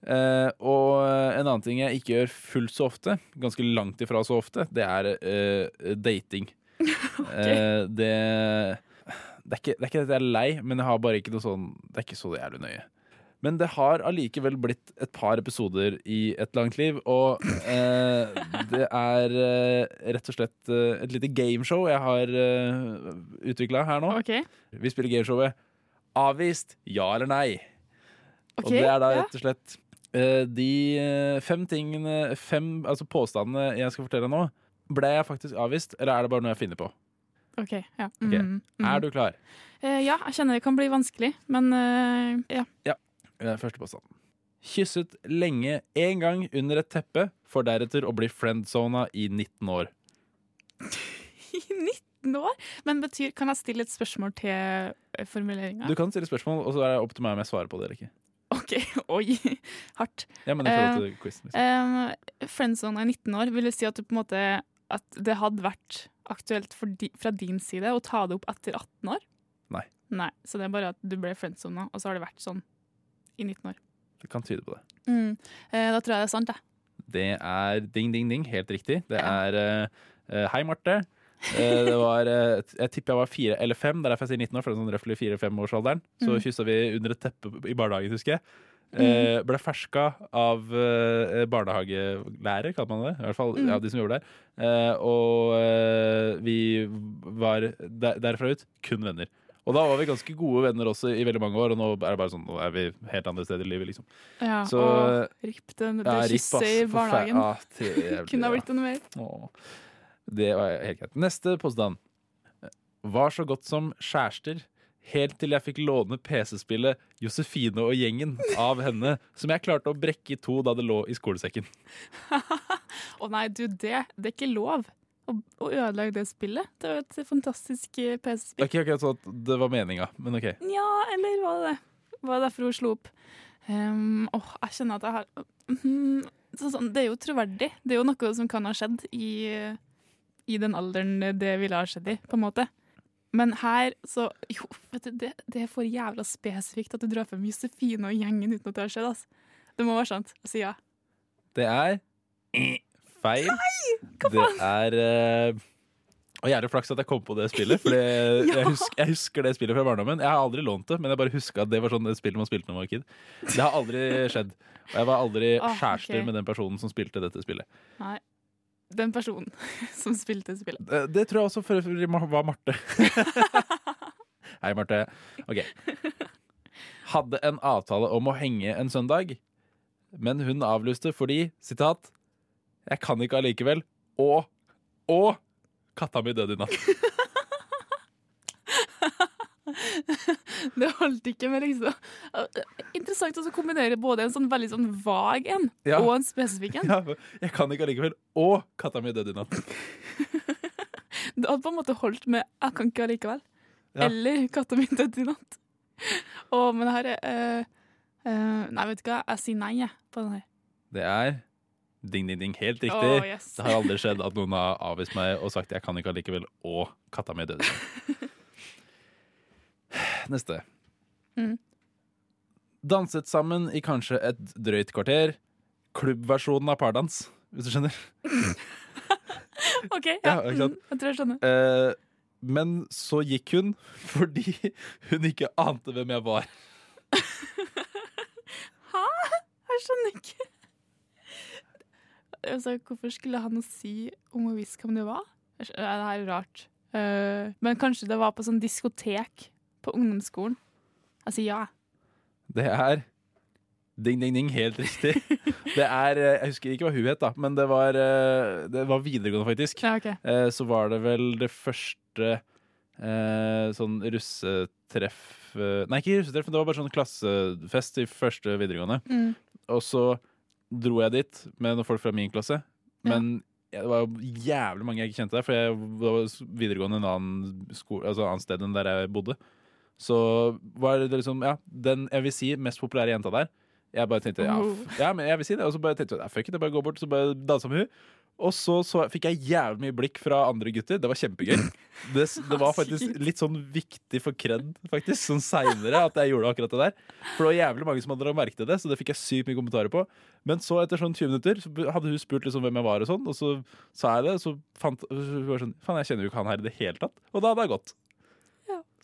S18: Eh, og en annen ting jeg ikke gjør fullt så ofte, ganske langt ifra så ofte, det er eh, dating. eh, det, det, er ikke, det er ikke at jeg er lei, men jeg har bare ikke noe sånn Det er ikke så jævlig nøye. Men det har allikevel blitt et par episoder i Et langt liv, og eh, det er eh, rett og slett eh, et lite gameshow jeg har eh, utvikla her nå. Vi spiller gameshowet Avvist, ja eller nei.
S4: Ok,
S18: og det er da
S4: ja.
S18: rett og slett eh, de eh, fem tingene, fem, altså påstandene jeg skal fortelle nå. Ble jeg faktisk avvist, eller er det bare noe jeg finner på?
S4: OK. Ja.
S18: Ok.
S4: Mm.
S18: Er du klar?
S4: Eh, ja, jeg kjenner det kan bli vanskelig, men eh, ja.
S18: Ja. Eh, Første påstand. Kysset lenge én gang under et teppe, for deretter å bli friendzona i 19 år.
S4: I 19 år? Men betyr, kan jeg stille et spørsmål til eh, formuleringa?
S18: Du kan stille spørsmål, og så er det opp til meg om jeg svarer på det eller ikke.
S4: OK, oi. Hardt.
S18: Ja, men jeg får lov til quizen, liksom.
S4: Eh, friendzone i 19 år, vil det si at, du på en måte, at det hadde vært aktuelt for di, fra din side å ta det opp etter 18 år?
S18: Nei.
S4: Nei, Så det er bare at du ble friendzona, og så har det vært sånn i 19 år.
S18: Det kan tyde på det.
S4: Mm. Eh, da tror jeg det er sant, jeg.
S18: Det er ding, ding, ding. Helt riktig. Det er eh, eh, Hei, Marte. Eh, det var, eh, jeg tipper jeg var fire eller fem. Det er derfor jeg sier 19 år. For det er sånn røftlig fire-femårsalderen. Så
S4: Mm.
S18: kyssa vi under et teppe i barnehagen, husker jeg. Eh, ble ferska av eh, barnehagelærer, kaller man det. I hvert fall
S4: Mm.
S18: ja, de som jobber der. Eh, og eh, vi var der, derfra ut kun venner. Og da var vi ganske gode venner også i veldig mange år, og nå er det bare sånn, nå er vi helt andre steder i livet, liksom.
S4: Ja,
S18: Så-
S4: og ripp den, det
S18: Ja, ripp, ass.
S4: kysset i
S18: Forfer-
S4: barnehagen.
S18: Ah, det er jævlig,
S4: Kunne ha
S18: ja.
S4: blitt noe mer.
S18: Åh. Det var helt greit. Neste påstand. Var så godt som kjærester helt til jeg fikk låne PC-spillet Josefine og gjengen av henne, som jeg klarte å brekke i to da det lå i skolesekken.
S4: Å nei, du, det, det er ikke lov å, å ødelegge det spillet. Det er jo et fantastisk eh, PC-spill.
S18: Ok, ok, så Det var meninga, men OK.
S4: Ja, eller var det det? Var det derfor hun slo opp? Ehm, Åh, jeg kjenner at jeg har Mhm, sånn, sånn, Det er jo troverdig. Det er jo noe som kan ha skjedd i, i den alderen det ville ha skjedd i, på en måte. Men her, så Jo, vet du, det, det er for jævla spesifikt at du drar frem Josefine og gjengen uten at det har skjedd, altså. Det må være sant. Jeg sier ja.
S18: Det er feil. Det er eh, og Jævlig flaks at jeg kom på det spillet. Fordi jeg, husker, jeg husker det spillet fra barndommen. Jeg har aldri lånt det, men jeg bare husker at det var sånn et spill man spilte når man var kid. Det har aldri skjedd. Og jeg var aldri
S4: Ah,
S18: kjærester
S4: ok.
S18: med den personen som spilte dette spillet.
S4: Nei. Den personen som spilte spillet.
S18: Det, Eh, det tror jeg også for øvrig ma- var Marte. Hei, Marte. Ok. Hadde en avtale om å henge en søndag, men hun avlyste fordi, sitat, jeg kan ikke allikevel, og, og, katta mi døde i natt.
S4: Det holdt ikke med liksom Interessant også å kombinere både en sånn veldig sånn vag en
S18: Ja.
S4: og en spesifikk en.
S18: Ja, jeg kan ikke allikevel, og katta mi døde i natt.
S4: Det hadde på en måte holdt med 'jeg kan ikke allikevel'.
S18: Ja.
S4: Eller 'katta mi døde i natt'. Å, men det her er eh, eh, Nei, vet du hva, jeg sier nei jeg, på den her.
S18: Det er ding, ding, ding. Helt riktig.
S4: Åh, yes.
S18: Det har aldri skjedd at noen har avvist meg og sagt 'jeg kan ikke allikevel', og katta mi døde. Neste.
S4: Mm.
S18: Danset sammen i kanskje et drøyt kvarter. Klubbversjonen av pardans, hvis du skjønner.
S4: OK, ja,
S18: Ja, ikke sant?
S4: mm, jeg tror jeg skjønner.
S18: Eh, Men så gikk hun fordi hun ikke ante hvem jeg var.
S4: Hæ? Jeg skjønner ikke. Altså, hvorfor skulle han si om hun visste hvem det var? Jeg skj- Det her er rart. Eh, men kanskje det var på sånn diskotek på ungdomsskolen. Jeg sier ja.
S18: Det er Ding, ding, ding, helt riktig. Det er, eh, Jeg husker ikke hva hun het, da men det var, eh, det var videregående, faktisk.
S4: Ja, ok.
S18: Eh, Så var det vel det første eh, sånn russetreff eh, Nei, ikke russetreff, men det var bare sånn klassefest i første videregående.
S4: Mm.
S18: Og så dro jeg dit med noen folk fra min klasse. Men det var jo jævlig mange jeg ikke kjente der, for jeg var videregående en annen, skole, altså annet sted enn der jeg bodde. Så var det liksom, ja, den jeg vil si mest populære jenta der. Jeg bare tenkte, ja, f ja men jeg vil si det. Og så bare tenkte jeg, ja, fuck it, jeg bare går bort, så bare danser med hun. Og så, så fikk jeg jævlig mye blikk fra andre gutter. Det var kjempegøy. Det, s- det var faktisk litt sånn viktig for cred, faktisk, sånn seinere, at jeg gjorde akkurat det der. For det var jævlig mange som hadde merket det, så det fikk jeg sykt mye kommentarer på. Men så, etter sånn 20 minutter, så b- hadde hun spurt liksom hvem jeg var, og sånn, og så sa jeg det, og så fant hun var sånn Faen, jeg kjenner jo ikke han her i det hele tatt. Og da hadde jeg gått.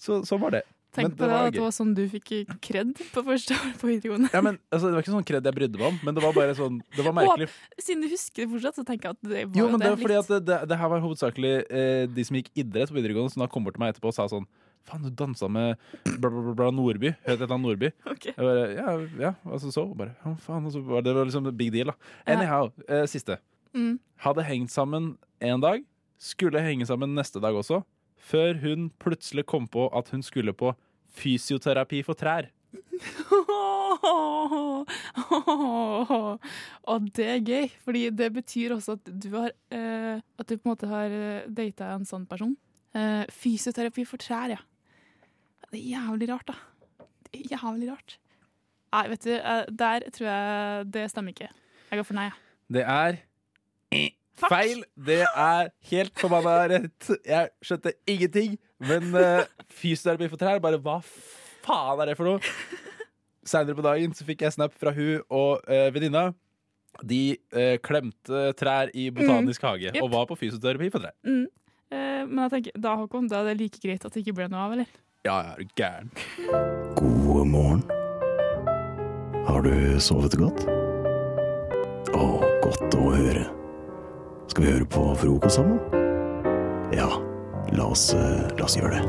S18: Så sånn var det.
S4: Tenk
S18: Men
S4: på det,
S18: var
S4: at det
S18: gøy.
S4: var sånn du fikk kred på første år på videregående.
S18: Ja, men altså, Det var ikke sånn kred jeg brydde meg om, men det var bare sånn Det var merkelig.
S4: Og siden du husker det fortsatt, så tenker jeg at det var
S18: Jo, men det
S4: det
S18: var fordi at det, det, det her var hovedsakelig eh, de som gikk idrett på videregående, som da kom bort til meg etterpå og sa sånn Faen, du dansa med bla, bla, bla, bla Nordby. Het et Nordby.
S4: Jeg
S18: bare, ja, ja, altså så. og Bare, ja, faen, og så var det det var liksom a big deal, da. Anyhow, eh, siste.
S4: Mm.
S18: Hadde hengt sammen en dag. Skulle henge sammen neste dag også. Før hun plutselig kom på at hun skulle på fysioterapi for trær.
S4: Og det er gøy, fordi det betyr også at du har eh, At du på en måte har eh, data en sånn person. Eh, fysioterapi for trær, ja. Det er jævlig rart, da. Det er jævlig rart. Nei, vet du, eh, der tror jeg det stemmer ikke. Jeg går for nei, jeg.
S18: Det er feil. Det er helt forbanna rett. Jeg skjønte ingenting. Men uh, fysioterapi for trær, bare hva faen er det for noe? Seinere på dagen så fikk jeg snap fra hun og eh, venninna. De eh, klemte trær i botanisk hage
S4: Jepp.
S18: og var på fysioterapi for trær.
S4: Mm. Eh, men jeg tenker, da Håkon, da er det like greit at det ikke ble noe av, eller?
S18: Ja, ja, er du gæren.
S17: God morgen. Har du sovet godt? Å, godt å høre. Skal vi høre på frokost sammen? Ja, la oss, eh, la oss gjøre det.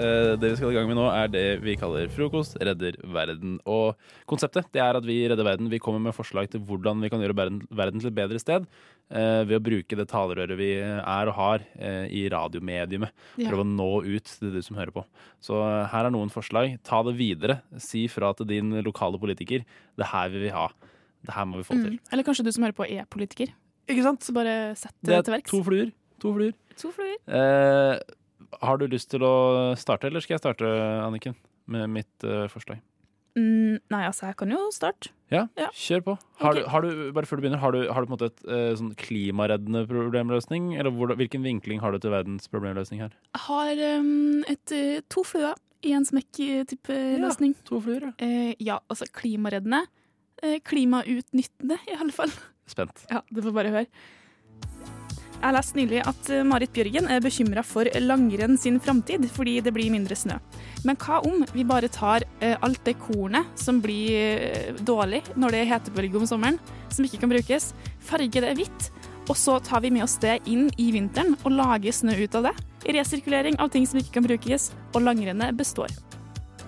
S18: Eh, Det vi skal i gang med nå, er det vi kaller Frokost redder verden. Og konseptet det er at vi redder verden. Vi kommer med forslag til hvordan vi kan gjøre verden, verden til et bedre sted eh, ved å bruke det talerøret vi er og har eh, i radiomediumet.
S4: Ja.
S18: Prøve å nå ut til du som hører på. Så eh, her er noen forslag. Ta det videre. Si fra til din lokale politiker. Det her vil vi ha. Det her må vi få til.
S4: Mm. Eller kanskje du som hører på er politiker.
S18: Ikke sant?
S4: Så bare sett
S18: Det
S4: det
S18: er
S4: til verks.
S18: to fluer. To fluer.
S4: To fluer.
S18: Eh, har du lyst til å starte, eller skal jeg starte, Anniken, med mitt eh, forslag?
S4: Mm, nei, altså, jeg kan jo starte.
S18: Ja,
S4: Ja.
S18: kjør på. Har,
S4: Ok.
S18: du, har du, bare før du begynner, har du, har du på en måte et eh, sånn klimareddende problemløsning? Eller hvordan, hvilken vinkling har du til verdens problemløsning her?
S4: Jeg har um, et, eh, to fluer i en smekk-type løsning.
S18: To fluer, ja.
S4: ja, altså klimareddende. Eh, klimautnyttende, i alle fall.
S18: Spent.
S4: Ja, du får bare høre. Jeg leste nylig at eh, Marit Bjørgen er bekymra for langrenn sin framtid fordi det blir mindre snø. Men hva om vi bare tar eh, alt det kornet som blir eh, dårlig når det er hetebølge om sommeren, som ikke kan brukes, farger det hvitt, og så tar vi med oss det inn i vinteren og lager snø ut av det? Resirkulering av ting som ikke kan brukes, og langrennet består.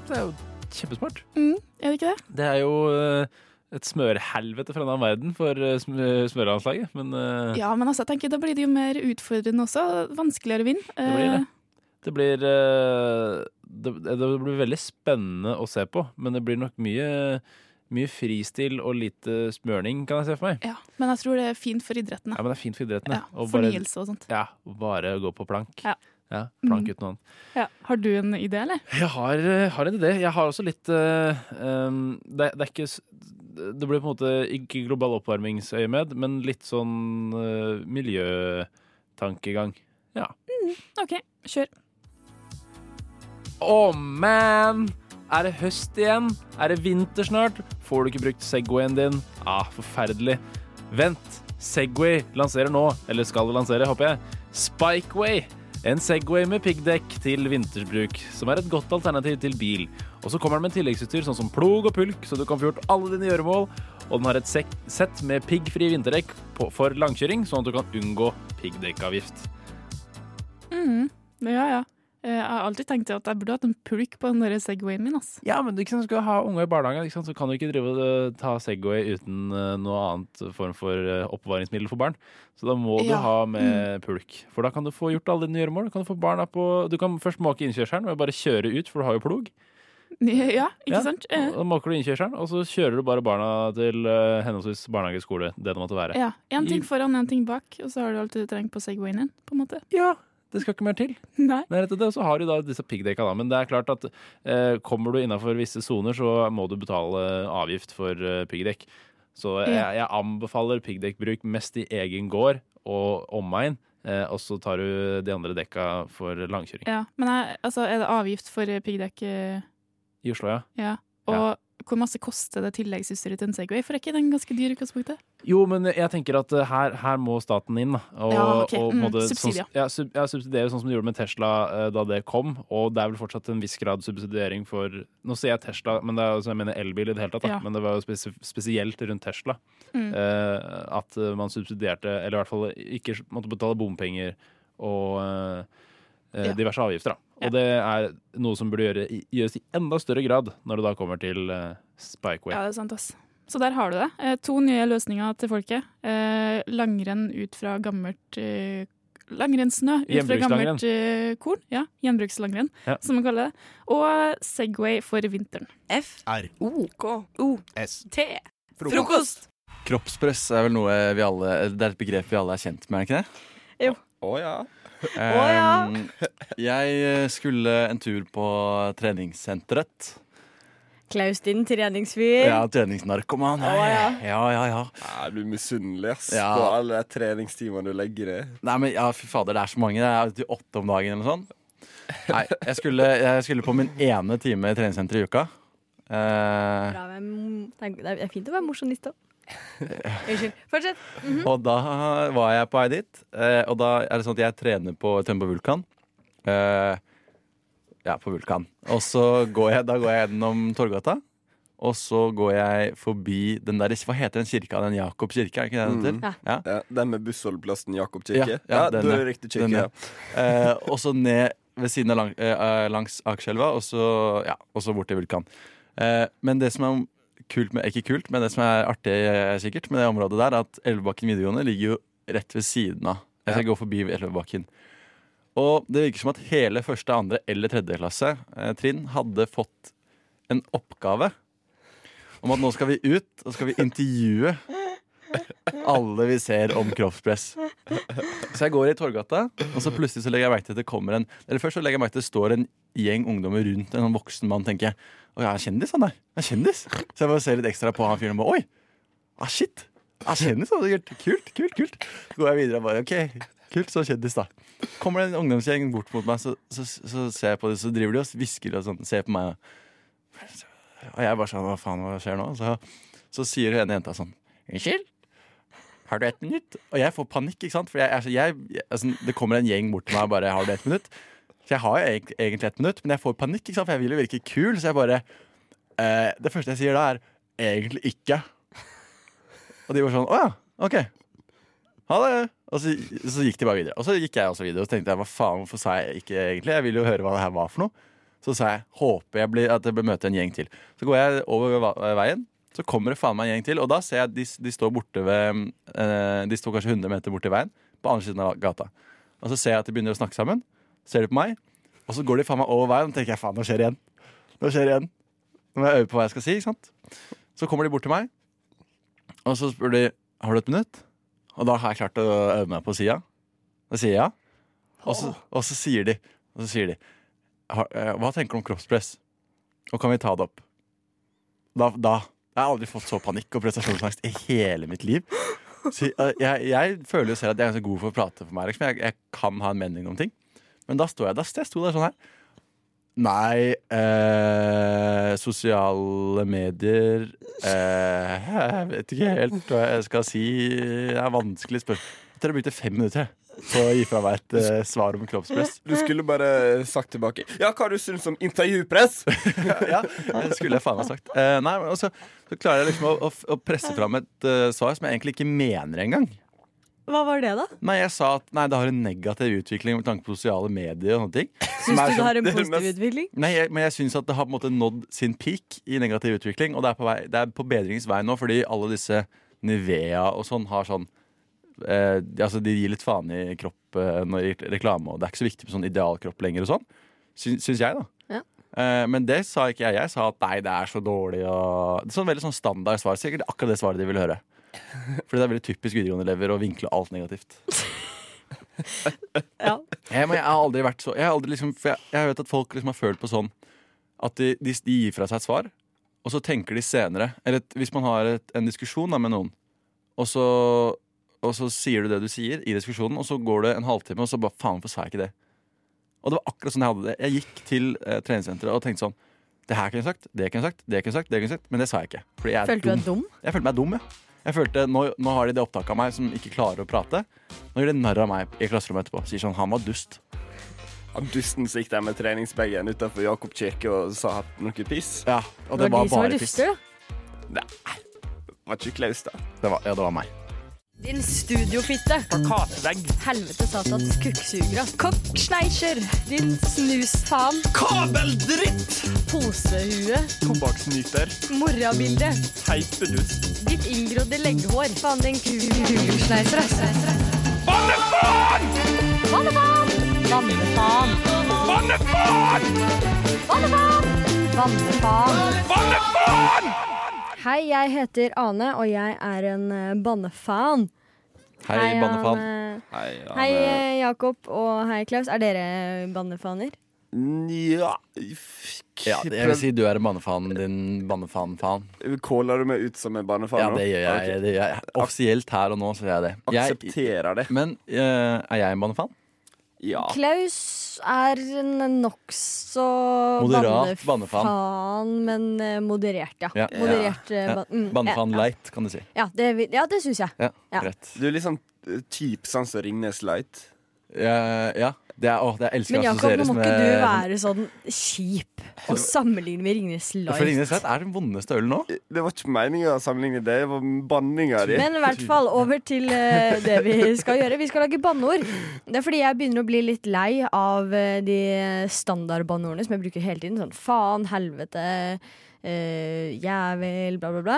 S18: Det er jo kjempesmart.
S4: Mm, er det ikke det?
S18: Det er jo eh, et smørhelvete fra en annen verden for eh, sm smørlandslaget, men eh,
S4: Ja, men altså, jeg tenker da blir det jo mer utfordrende også. Vanskeligere å vinne.
S18: det blir det.
S4: Eh,
S18: Det blir, eh, det, det blir veldig spennende å se på, men det blir nok mye, mye fristil og lite smørning, kan jeg se for meg.
S4: Ja, men jeg tror det er fint for idretten.
S18: Ja,
S4: da.
S18: men det er fint for idretten. Ja,
S4: fornyelse og sånt.
S18: Ja, og bare gå på plank.
S4: Ja.
S18: Ja, plank
S4: Mm.
S18: uten hånd.
S4: Ja. Har du en idé, eller?
S18: Jeg har, eh, har en idé. Jeg har også litt eh, um, det, det er ikke s- Det blir på en måte ikke global oppvarmingsøyemed, men litt sånn eh, miljøtankegang. Ja.
S4: Mm, OK, kjør.
S18: Å, man! Er det høst igjen? Er det vinter snart? Får du ikke brukt Segwayen din? Ah, forferdelig. Vent, Segway lanserer nå, eller skal lansere, håper jeg, Spikeway. En Segway med piggdekk til vinterbruk, som er et godt alternativ til bil. Og så kommer den med tilleggsutstyr sånn som plog og pulk, så du kan få gjort alle dine gjøremål. Og den har et sek- sett med piggfri vinterdekk på- for langkjøring, sånn at du kan unngå piggdekkavgift.
S4: Mm, ja, ja. Eh, Jeg har alltid tenkt at jeg burde hatt en pulk på den der Segwayen min. ass.
S18: Ja, men ikke sant, skal du ha unger i barnehagen, ikke sant, så kan du ikke drive og eh, ta Segway uten eh, noe annet form for eh, oppbevaringsmiddel for barn. Så da må du
S4: Ja. mm.
S18: ha med pulk. For da kan du få gjort alle dine gjøremål. Du kan, få barna på, du kan først måke innkjørselen ved å bare kjøre ut, for du har jo plog.
S4: Ja, ikke
S18: Ja,
S4: sant? Eh,
S18: og Da måker du innkjørselen, og så kjører du bare barna til eh, henholdsvis barnehage, skole, det det måtte være.
S4: Ja, En ting
S18: I-
S4: foran, en ting bak, og så har du alt du trenger på Segwayen din. på en måte.
S18: Ja, Det skal ikke mer til.
S4: Nei.
S18: Det er rett og slett, og så har du da disse piggdekka, da. Men det er klart at eh, kommer du innafor visse soner, så må du betale avgift for eh, piggdekk. Så jeg,
S4: Ja.
S18: jeg anbefaler piggdekkbruk mest i egen gård og omegn. Eh, og så tar du de andre dekka for langkjøring.
S4: Ja, Men jeg, altså, er det avgift for eh, piggdekk? eh,
S18: I Oslo, ja.
S4: Ja. Og hvor masse koster det tilleggsutstyret til en Segway? For er ikke den ganske dyr i utgangspunktet?
S18: Jo, men jeg tenker at eh, her, her må staten inn. da, Og,
S4: Ja, ok.
S18: og på en
S4: Mm,
S18: måte,
S4: subsidier.
S18: Sånn, ja, sub, ja, subsidiere sånn som de gjorde med Tesla eh, da det kom. Og det er vel fortsatt en viss grad subsidiering for Nå sier jeg Tesla, men det er, altså, jeg mener elbil i det hele tatt, da,
S4: Ja.
S18: men det var jo spesif spesielt rundt Tesla.
S4: Mm.
S18: eh, at eh, man subsidierte, eller i hvert fall ikke måtte betale bompenger og eh, eh,
S4: Ja.
S18: diverse avgifter. da. Og det er noe som burde gjøre, i- gjøres i enda større grad når det da kommer til eh, Spikeway.
S4: Ja, det er sant, ass. Så der har du det. Eh, to nye løsninger til folket. Eh, langrenn ut fra gammelt eh, Langrennssnø ut fra
S18: Gjenbrukslangrenn.
S4: gammelt eh, korn. Ja, Gjenbrukslangrenn,
S18: Ja.
S4: som man kaller det. Og Segway for vinteren.
S19: F.
S3: R.
S19: O. K. O.
S3: S.
S19: T.
S3: Frokost.
S19: Frokost!
S3: Kroppspress er vel noe vi alle Det er et begrep vi alle er kjent med, er det ikke det?
S19: Jo.
S3: Å ja.
S19: ja.
S3: Jeg eh, skulle en tur på treningssenteret.
S19: Klaus, din treningsfyr.
S3: Ja, treningsnarkoman.
S19: Å, ja.
S3: ja, ja, ja.
S8: Er du misunnelig ass,
S3: Ja.
S8: på alle de treningstimene du legger i?
S3: Nei, men ja, fy fader, det er så mange. Det er alltid åtte om dagen eller noe sånt. Nei, jeg skulle, jeg skulle på min ene time i treningssenteret i uka. Eh,
S19: Bra, men Det er- det er fint å være mosjonist òg. Unnskyld. Fortsett. Mhm.
S3: Og da var jeg på vei dit. eh, Og da er det sånn at jeg trener på tømmer på Vulkan. Eh, ja, på Vulkan. Og så går jeg, da går jeg gjennom Torgata. Og så går jeg forbi den der Hva heter den kirka? Den Jakob kirke? Er det ikke det den heter?
S8: Mm. Ja.
S3: Ja.
S8: Den med bussholdeplassen Jakob kirke? Ja,
S3: den
S8: du er riktig
S3: den
S8: kirke. Ja.
S3: Eh, og så ned ved siden av lang, eh, langs Akerselva, og så, ja, og så bort til Vulkan. Eh, men det som er kult med, ikke kult, men det som er artig eh, sikkert med det området der, er at Elvebakken videregående ligger jo rett ved siden av. Jeg skal gå forbi Elvebakken. Og det virker som at hele første, andre eller tredje klasse eh, trinn hadde fått en oppgave om at nå skal vi ut og skal vi intervjue alle vi ser om kroppspress. Så jeg går i Torgata, og så plutselig så legger jeg merke til at det kommer en Eller først så legger jeg merke til at det står en gjeng ungdommer rundt en sånn voksen mann, tenker jeg. Å, jeg er kjendis, han der. Jeg er kjendis. Så jeg bare ser litt ekstra på han fyren og bare Oi! Ah, shit! Ah, kjendis, han er kult, kult, kult, kult. Så går jeg videre og bare OK, kult, så kjendis, da. Kommer det en ungdomsgjeng bort mot meg, så, så, så ser jeg på det, så driver de og hvisker og sånn, ser på meg. Og jeg bare sånn, hva faen, hva skjer nå? Så, så sier hun ene jenta sånn, unnskyld, har du ett minutt? Og jeg får panikk, ikke sant? For jeg, er så- jeg, jeg, altså, det kommer en gjeng bort til meg og bare, har du ett minutt? Så jeg har jo eg- egentlig ett minutt, men jeg får panikk, ikke sant? For jeg vil jo virke kul, så jeg bare, eh, det første jeg sier da er, egentlig ikke. Og de var sånn, åja, ok, ha det. Og så, så gikk de bare videre. Og så gikk jeg også videre, og så tenkte jeg, hva faen, hvorfor sa jeg ikke egentlig? Jeg ville jo høre hva det her var for noe. Så sa jeg håper jeg blir, at jeg blir møte en gjeng til. Så går jeg over va- eh, veien, så kommer det faen meg en gjeng til. Og da ser jeg at de, de står borte ved eh, De står kanskje 100 meter borti veien, på andre siden av gata. Og så ser jeg at de begynner å snakke sammen. Ser de på meg, og så går de faen meg over veien, og tenker jeg faen, nå skjer det igjen. Nå skjer det igjen. Nå må jeg øve på hva jeg skal si, ikke sant. Så kommer de bort til meg, og så spør de har du et minutt. Og da har jeg klart å øve meg på å si ja. Da sier jeg ja. Og så, og så sier de, og så sier de har, eh, Hva tenker du om kroppspress? Og kan vi ta det opp? Da, da Jeg har aldri fått så panikk og prestasjonsangst i hele mitt liv. Så, eh, jeg, jeg føler jo selv at jeg er ganske god for å prate for meg. Liksom. Jeg, jeg kan ha en mening om ting. Men da står jeg, da, jeg sto der sånn her. Nei eh, Sosiale medier eh, Jeg vet ikke helt hva jeg skal si. Det er vanskelig spørsmål. Jeg tror jeg brukte fem minutter jeg, på å gi fra meg et eh, svar om kroppspress.
S8: Du skulle bare eh, sagt tilbake Ja, hva du syns om intervjupress?
S3: ja, Det skulle jeg faen meg sagt. Eh, nei, men også, Så klarer jeg liksom å, å, å presse fram et eh, svar som jeg egentlig ikke mener engang.
S19: Hva var det, da?
S3: Nei, jeg sa at nei, det har en negativ utvikling med tanke på sosiale medier. og sånne ting
S19: Syns
S3: som er
S19: du det
S3: sånn-
S19: har en
S3: det er Mm, det
S19: positiv utvikling?
S3: Nei, jeg, men jeg syns at det har på en måte nådd sin peak i negativ utvikling. Og det er på, vei, det er på bedringens vei nå, fordi alle disse Nivea og sånn har sånn eh, de- Altså, de gir litt faen i kropp eh, når i reklame, og det er ikke så viktig med sånn idealkropp lenger og sånn. Syns, syns jeg, da.
S19: Ja.
S3: Eh, men det sa ikke jeg. Jeg sa at nei, det er så dårlig og det er sånn Veldig sånn standard svar. Sikkert akkurat det svaret de vil høre. Fordi det er veldig typisk videregående-elever å vinkle alt negativt. jeg, men jeg har aldri vært så Jeg har aldri liksom For jeg, jeg vet at folk liksom har følt på sånn at de, de, de gir fra seg et svar, og så tenker de senere Eller et, hvis man har et, en diskusjon da, med noen, og så, og så sier du det du sier i diskusjonen, og så går det en halvtime, og så bare faen, hvorfor sa jeg ikke det? Og det var akkurat sånn jeg hadde det. Jeg gikk til eh, treningssenteret og tenkte sånn Det her kunne jeg sagt, det kunne jeg sagt, det kunne jeg sagt, det kunne jeg sagt, men det sa jeg ikke. Fordi jeg er
S19: Følte du deg dum?
S3: Jeg følte meg dum, ja. Jeg følte, nå, nå har de det opptaket av meg som ikke klarer å prate. Nå gjør de narr av meg i klasserommet etterpå. Sier sånn, han var dust.
S8: Han dusten som gikk der med treningsbagen utenfor Jakob kirke og sa at noe piss.
S3: Ja, og det Det var var de som var bare piss. duster,
S8: Nei, det var ikke klaus, da.
S3: ja, det var meg.
S19: Din studiofitte.
S8: Plakatvegg.
S19: Helvete satans kukksugere. Kokksneisjer. Din snusfaen. Kabeldritt. Posehue.
S8: Tobakksnyter.
S19: Morrabilde.
S8: Teipedust.
S19: Ditt inngrodde legghår. Faen, din kugelsneiser, Vannefaen! Vannefaen! Vannefaen! Vannefaen! Vannefaen! Vannefaen! Vannefaen!
S20: Hei, jeg heter Ane, og jeg er en eh, bannefan.
S3: Hei, bannefan.
S20: Ane.
S8: Hei, Ane.
S20: Hei, eh, Jakob og hei, Klaus. Er dere bannefaner?
S8: Nja
S3: Ja, jeg vil si du er bannefanen din, bannefanen-fan.
S8: Caller du meg ut som en bannefan
S3: Ja,
S8: nå?
S3: det gjør jeg.
S8: Ok.
S3: Det gjør jeg. Offisielt her og nå så gjør jeg det. Jeg-
S8: Aksepterer det.
S3: Men eh, er jeg en bannefan?
S8: Ja.
S20: Klaus er en nokså
S3: Moderat
S20: men eh, moderert, ja.
S3: Ja.
S20: Moderert eh,
S8: Ja.
S20: ban- mm,
S8: Bannefan
S20: ja,
S8: light.
S3: Eit, kan du si.
S20: Ja, det, vil- ja, det syns jeg.
S3: Ja,
S20: Ja.
S3: rett.
S8: Du er litt sånn eh, typ sånn som Ringnes Light.
S3: Ja, ja. Det er, åh, det jeg elsker
S20: Men
S3: å
S20: Jakob,
S3: assosieres
S20: nå må
S3: med
S20: ikke du være sånn kjip og sammenligne med Ringnes Light.
S3: For Ringnes Light er den vondeste ølen nå.
S8: Det var ikke meninga å sammenligne det, det var banninga di.
S20: Men i hvert fall over til eh, det vi skal gjøre. Vi skal lage banneord. Det er fordi jeg begynner å bli litt lei av eh, de standardbanneordene som jeg bruker hele tiden. Sånn faen, helvete, eh, jævel, bla, bla, bla.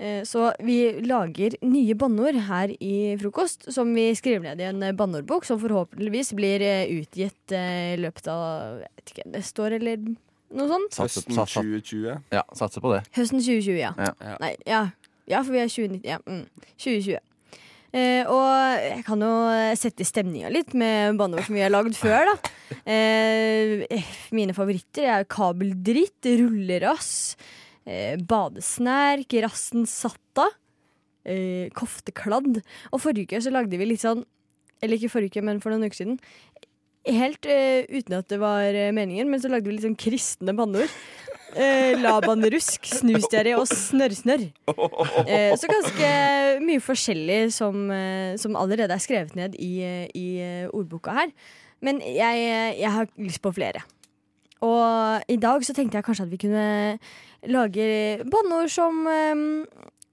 S20: Eh, så vi lager nye banneord her i Frokost, som vi skriver ned i en eh, banneordbok, som forhåpentligvis blir eh, utgitt eh, i løpet av jeg vet ikke, neste år eller noe sånt.
S3: Satser- satser-
S8: 2020.
S3: Ja, satser på det.
S20: Høsten 2020, ja.
S3: Ja.
S20: Nei, ja. ja, for vi er 2019. Ja. Mm. 2020. Eh, og jeg kan jo sette stemninga litt med banneord som vi har lagd før, da. Eh, eh, mine favoritter er kabeldritt, rullerass, eh, badesnerk, rassen satt av, eh, koftekladd. Og forrige uke så lagde vi litt sånn Eller ikke forrige uke, men for noen uker siden. Helt eh, uten at det var eh, meningen, men så lagde vi litt sånn kristne banneord. Eh, Labanrusk, snustjerry og snørrsnørr. Eh, så ganske mye forskjellig som, eh, som allerede er skrevet ned i, eh, i eh, ordboka her. Men jeg, jeg har lyst på flere. Og i dag så tenkte jeg kanskje at vi kunne lage banneord som eh,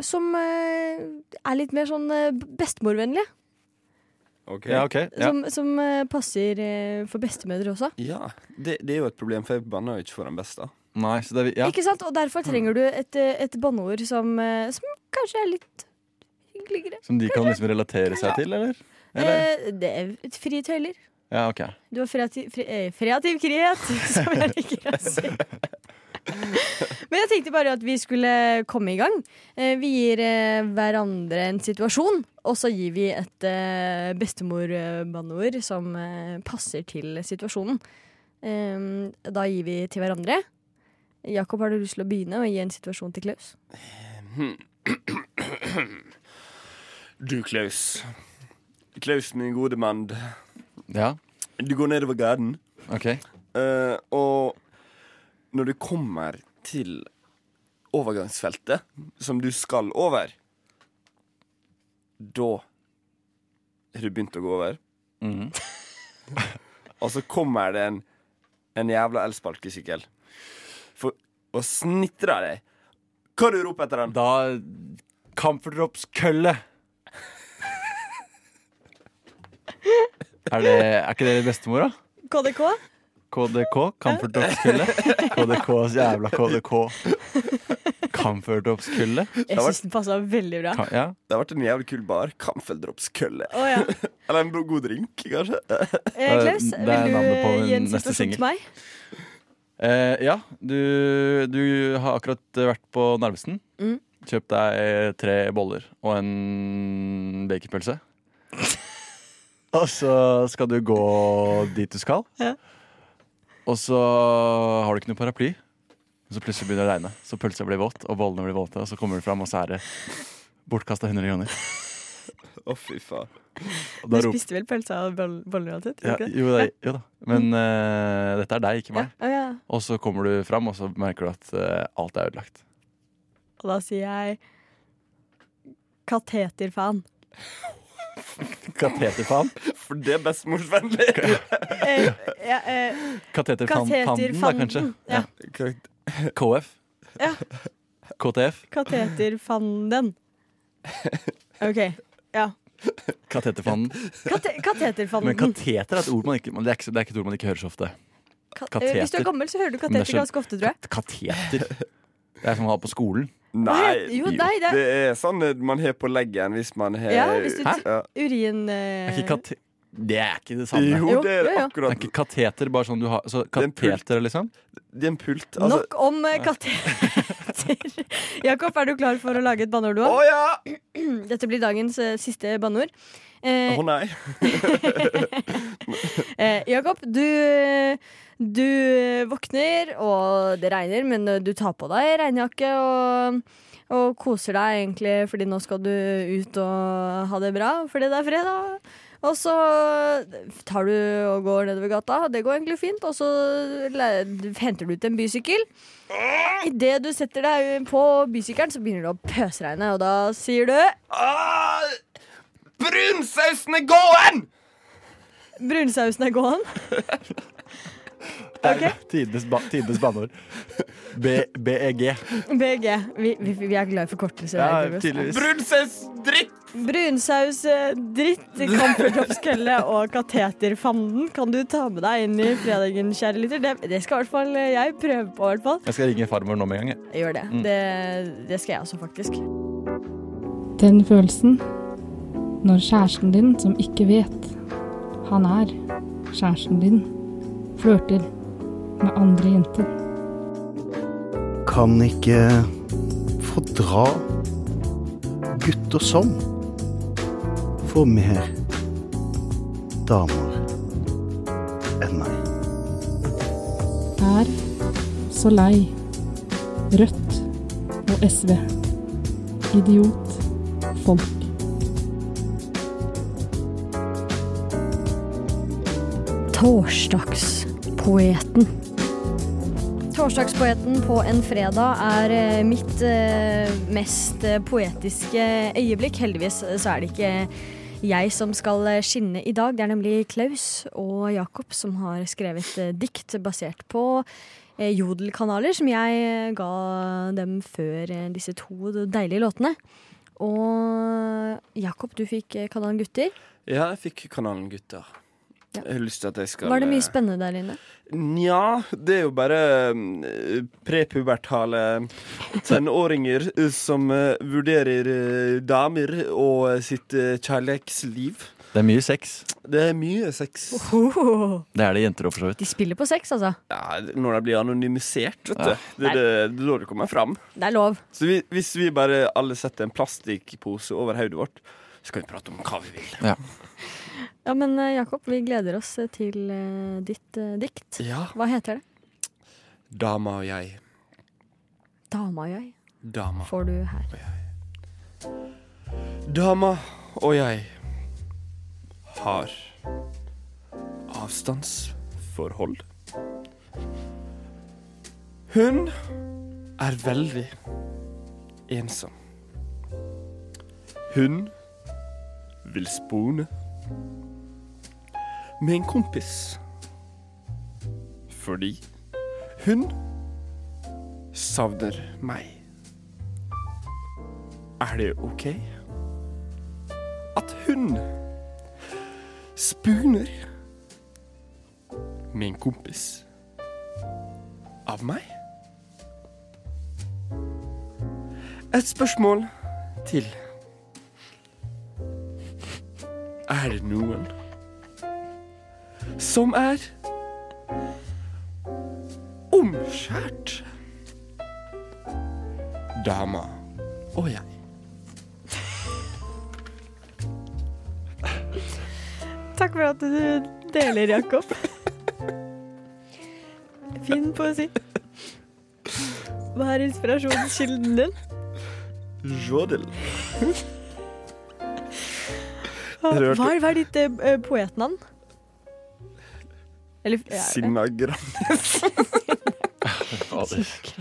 S20: Som eh, er litt mer sånn eh, bestemorvennlige.
S3: Ja, ok. Ja.
S20: Som, som eh, passer eh, for bestemødre også.
S8: Ja, det, det er jo et problem, for jeg banner jo ikke for den beste.
S3: Nei, så det, er vi- ja. Mm.
S20: Ikke sant? Og derfor trenger du et, eh, et banneord som, eh, som kanskje er litt hyggeligere.
S3: Som de kan liksom relatere seg til, eller? eller?
S20: Eh, det er et frie tøyler.
S3: Ja, ok.
S20: Du har freativ, fre, eh, freativ frihet, som jeg liker å si. Men jeg tenkte bare at vi skulle komme i gang. Eh, Vi gir eh, hverandre en situasjon, og så gir vi et eh, bestemorbanneord som eh, passer til situasjonen. Eh, Da gir vi til hverandre. Jakob, har du lyst til å begynne og gi en situasjon til Klaus?
S8: Hmm. Du, Klaus. Klaus, min gode mann.
S3: Ja.
S8: Du går nedover gaten.
S3: Ok.
S8: Eh, og
S11: når du kommer til overgangsfeltet som du skal over, da har du begynt å gå over. og så kommer det en, en jævla elsparkesykkel for å snittre deg. Hva du roper etter den?
S3: Da Camphordrops-kølle. Er, det, er ikke det bestemor, da?
S20: KDK?
S3: KDK? Camphordrops-kølle? KDKs jævla KDK. Camphordrops-kølle?
S20: Jeg syns den passa veldig bra.
S11: Det har vært en jævlig kul bar. Kamfeldropskølle.
S20: Å, ja.
S11: Eller en god drink, kanskje.
S20: Eh, Klaus, vil du gi Eh, en situasjon til meg?
S3: Eh, ja, du, du har akkurat vært på Narvesen.
S20: Mm.
S3: Kjøp deg tre boller og en baconpølse. og så skal du gå dit du skal.
S20: Ja.
S3: Og så har du ikke noe paraply. Og så plutselig begynner det å regne, så pølsa blir våt, og bollene blir våte. Og så kommer du fram, og så er det bortkasta 100 kroner.
S11: Å, fy faen.
S3: Og
S20: Du
S3: da roper-
S20: spiste vel pølse av boll- boller uansett?
S3: ja,
S20: gjorde du ikke det?
S3: jo, da, jo da. Men eh, dette er deg, ikke meg.
S20: Mm. Ja, ja.
S3: Og så kommer du fram, og så merker du at eh, alt er ødelagt.
S20: Og da sier jeg kateterfan.
S3: Kateterfan.
S11: For det er bestemorsvennlig.
S20: Eh, ja, eh,
S3: Kateterfanden, da, kanskje?
S20: kateterfanden, Ja.
S3: KF?
S20: ja.
S3: KTF?
S20: Kateterfanden. OK. Ja.
S3: Kateterfanden.
S20: Kate kateterfanden.
S3: Men kateter er et ord man ikke, men det er ikke, det er ikke et ord man ikke hører så ofte.
S20: Ka- eh,
S3: kateter.
S20: Hvis du er gammel, så hører du
S3: Men det er sånn-
S20: kateter
S3: så-
S20: ganske ofte, tror jeg.
S3: Kateter. Det er som man har på skolen.
S11: Nei,
S20: Jo, nei, det-
S11: det er sånn man har på leggen hvis man har
S20: Ja, hvis du
S11: Hæ? Ja.
S20: Urin
S3: Er
S20: eh,
S3: ikke kate- det er ikke det samme.
S11: Jo, det er
S20: Jo, jo, jo.
S11: akkurat
S3: Er ikke kateter bare sånn du har så Kateter, liksom?
S11: Det er en pult. Altså-
S3: altså-
S20: Nok om eh, kateter. Jakob, er du klar for å lage et banneord du
S11: Å ja!
S20: Dette blir dagens eh, siste banneord. Eh,
S11: Å nei.
S20: eh, Jakob, du, du våkner, og det regner, men du tar på deg regnjakke og, og koser deg egentlig, fordi nå skal du ut og ha det bra, fordi det er fredag. Og så tar du og går nedover gata, det går egentlig fint, og så le- henter du ut en bysykkel. Idet du setter deg på bysykkelen, så begynner det å pøsregne, og da sier du
S11: Ah, brunsausen er gåen!
S20: Brunsausen er gåen.
S3: Tidenes, ba tidenes banneord. B- E BEG.
S20: BG. Vi, vi, vi er glad i forkortelser. her, Tobias.
S11: dritt!
S20: Brunsaus eh, dritt, kamferdroppskølle og kateterfanden kan du ta med deg inn i fredagen, kjære lytter. Det, det skal i hvert fall eh, jeg prøve på. i hvert fall.
S3: Jeg skal ringe farmor nå med en gang. jeg.
S20: Jeg Gjør det.
S3: Mm.
S20: det. Det skal jeg også, faktisk.
S4: Den følelsen når kjæresten din, som ikke vet han er kjæresten din, flørter med andre jenter.
S17: Kan ikke fordra gutter som får mer damer enn meg.
S4: Er så lei Rødt og SV. Idiot. Folk.
S20: Torsdagspoeten. Torsdagspoeten på en fredag er eh, mitt eh, mest eh, poetiske øyeblikk. Heldigvis eh, så er det ikke jeg som skal eh, skinne i dag. Det er nemlig Klaus og Jakob som har skrevet eh, dikt basert på eh, jodelkanaler, som jeg eh, ga dem før eh, disse to deilige låtene. Og Jakob, du fikk eh, kanalen Gutter.
S11: Ja, jeg fikk kanalen Gutter.
S20: Ja.
S11: Jeg har lyst til at jeg skal
S20: Var det
S11: eh,
S20: mye spennende der inne?
S11: Nja, det er jo bare eh, prepubertale tenåringer eh, som eh, vurderer eh, damer og eh, sitt eh, kjærlighetsliv.
S3: Det er mye sex.
S11: Det er mye sex.
S20: Oho.
S3: Det er det jenter òg, for så vidt.
S20: De spiller på sex, altså.
S11: Ja, når de blir anonymisert, vet du.
S3: Ja.
S11: Det, det, det er da det kommer fram.
S20: Det er lov.
S11: Så vi, hvis vi bare alle setter en plastikkpose over hodet vårt, så kan vi prate om hva vi vil.
S20: Ja, men eh, Jakob, vi gleder oss eh, til eh, ditt eh, dikt.
S11: Ja.
S20: Hva heter det?
S11: Dama og jeg.
S20: Dama og jeg
S11: Dama.
S20: får du her.
S11: Dama og jeg har avstandsforhold. Hun er veldig ensom. Hun vil spone med en kompis. Fordi hun savner meg. Er det OK at hun spooner med en kompis av meg? Et spørsmål til. Er det noen som er omskjært? Dama og jeg.
S20: Takk for at du deler, Jakob. Fin poesi. Hva er inspirasjonskilden din?
S11: Jodel.
S20: Hva
S11: Rørte.
S20: hva er, hva er ditt eh, eh, poetnavn? Eller ja,
S11: Sinna Grandes. Det
S20: Takk,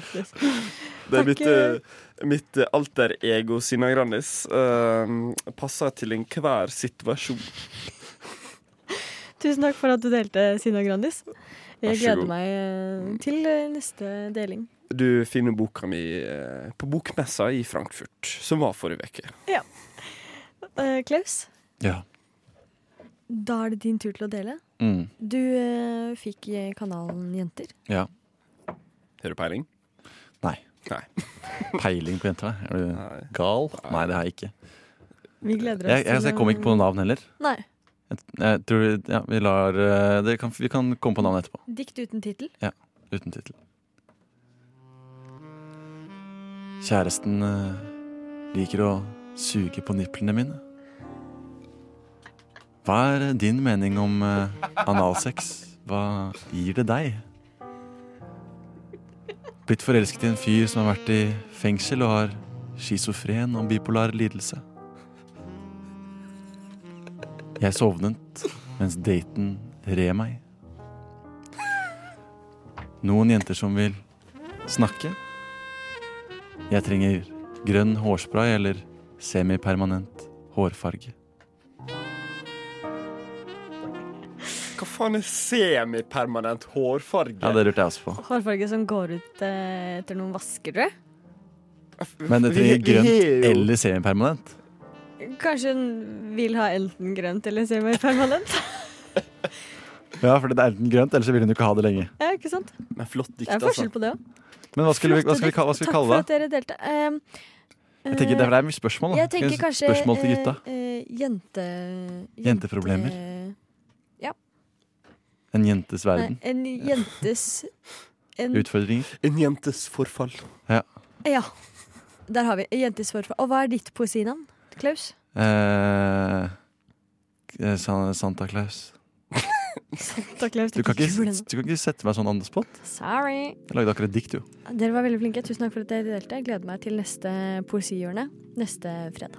S11: er mitt, eh, mitt eh, alter ego Sinna Grandis. eh, passer til enhver situasjon.
S20: eh, Tusen takk for at du delte, Sina Grandis.
S11: Vær
S20: Jeg
S11: så
S20: gleder
S11: god.
S20: meg eh, til eh, neste deling.
S11: Du finner boka mi eh, på bokmessa i Frankfurt, som var forrige uke.
S20: Ja. Eh, Klaus,
S3: Ja.
S20: da er det din tur til å dele.
S3: Mm.
S20: Du eh, fikk eh, kanalen Jenter.
S3: Ja.
S11: Har du peiling?
S3: Nei. peiling på jenta? Er du gal? Nei, det har jeg ikke.
S20: Vi gleder oss
S3: Jeg, jeg, jeg kom ikke på noe navn heller.
S20: Nei.
S3: Jeg, jeg tror ja, vi lar eh, dere kan, Vi kan komme på navn etterpå.
S20: Dikt uten tittel.
S3: Ja, uten tittel. Kjæresten eh, liker å suge på nipplene mine. Hva er din mening om eh, analsex? Hva gir det deg? Blitt forelsket i en fyr som har vært i fengsel og har schizofren og bipolar lidelse. Jeg sovnet mens daten red meg. Noen jenter som vil snakke. Jeg trenger grønn hårspray eller semipermanent hårfarge.
S11: Hva faen er semipermanent hårfarge?
S3: Ja, det lurte jeg også på.
S20: Hårfarge som går ut eh, etter noen vasker, tror jeg.
S3: Men jeg trenger
S11: Vi- vi har
S3: grønt
S11: jo-
S3: eller semipermanent.
S20: Kanskje hun vil ha enten grønt eller semi-permanent.
S3: Ja, for det er enten grønt, eller så vil hun jo ikke ha det lenge.
S20: ja, ikke sant?
S11: Men flott altså.
S20: Det er forskjell på det òg.
S3: altså. Men hva skulle vi, hva skal vi, kall- hva skal vi kalle det?
S20: Takk for at dere delte. Ehm, eh,
S3: Jeg tenker, Det er- det er mye spørsmål. Da.
S20: Jeg tenker kanskje
S3: spørsmål til gutta.
S20: eh, eh, jente...
S3: Jenteproblemer.
S20: jente- Ja.
S3: En jentes
S20: Nei,
S3: verden.
S20: en jentes en,
S3: Utfordringer.
S11: En jentes forfall.
S3: Ja.
S20: Ja. Der har vi en jentes forfall. Og hva er ditt poesinavn, Klaus?
S3: Eh, eh, San- Santa Claus.
S20: Santa Claus.
S3: Du kan, ikke,
S20: Julen.
S3: du kan ikke sette meg sånn on the spot.
S20: Sorry.
S3: Jeg lagde akkurat dikt, jo.
S20: Dere var veldig flinke. Tusen takk for at dere delte. Jeg gleder meg til neste poesihjørne neste fredag.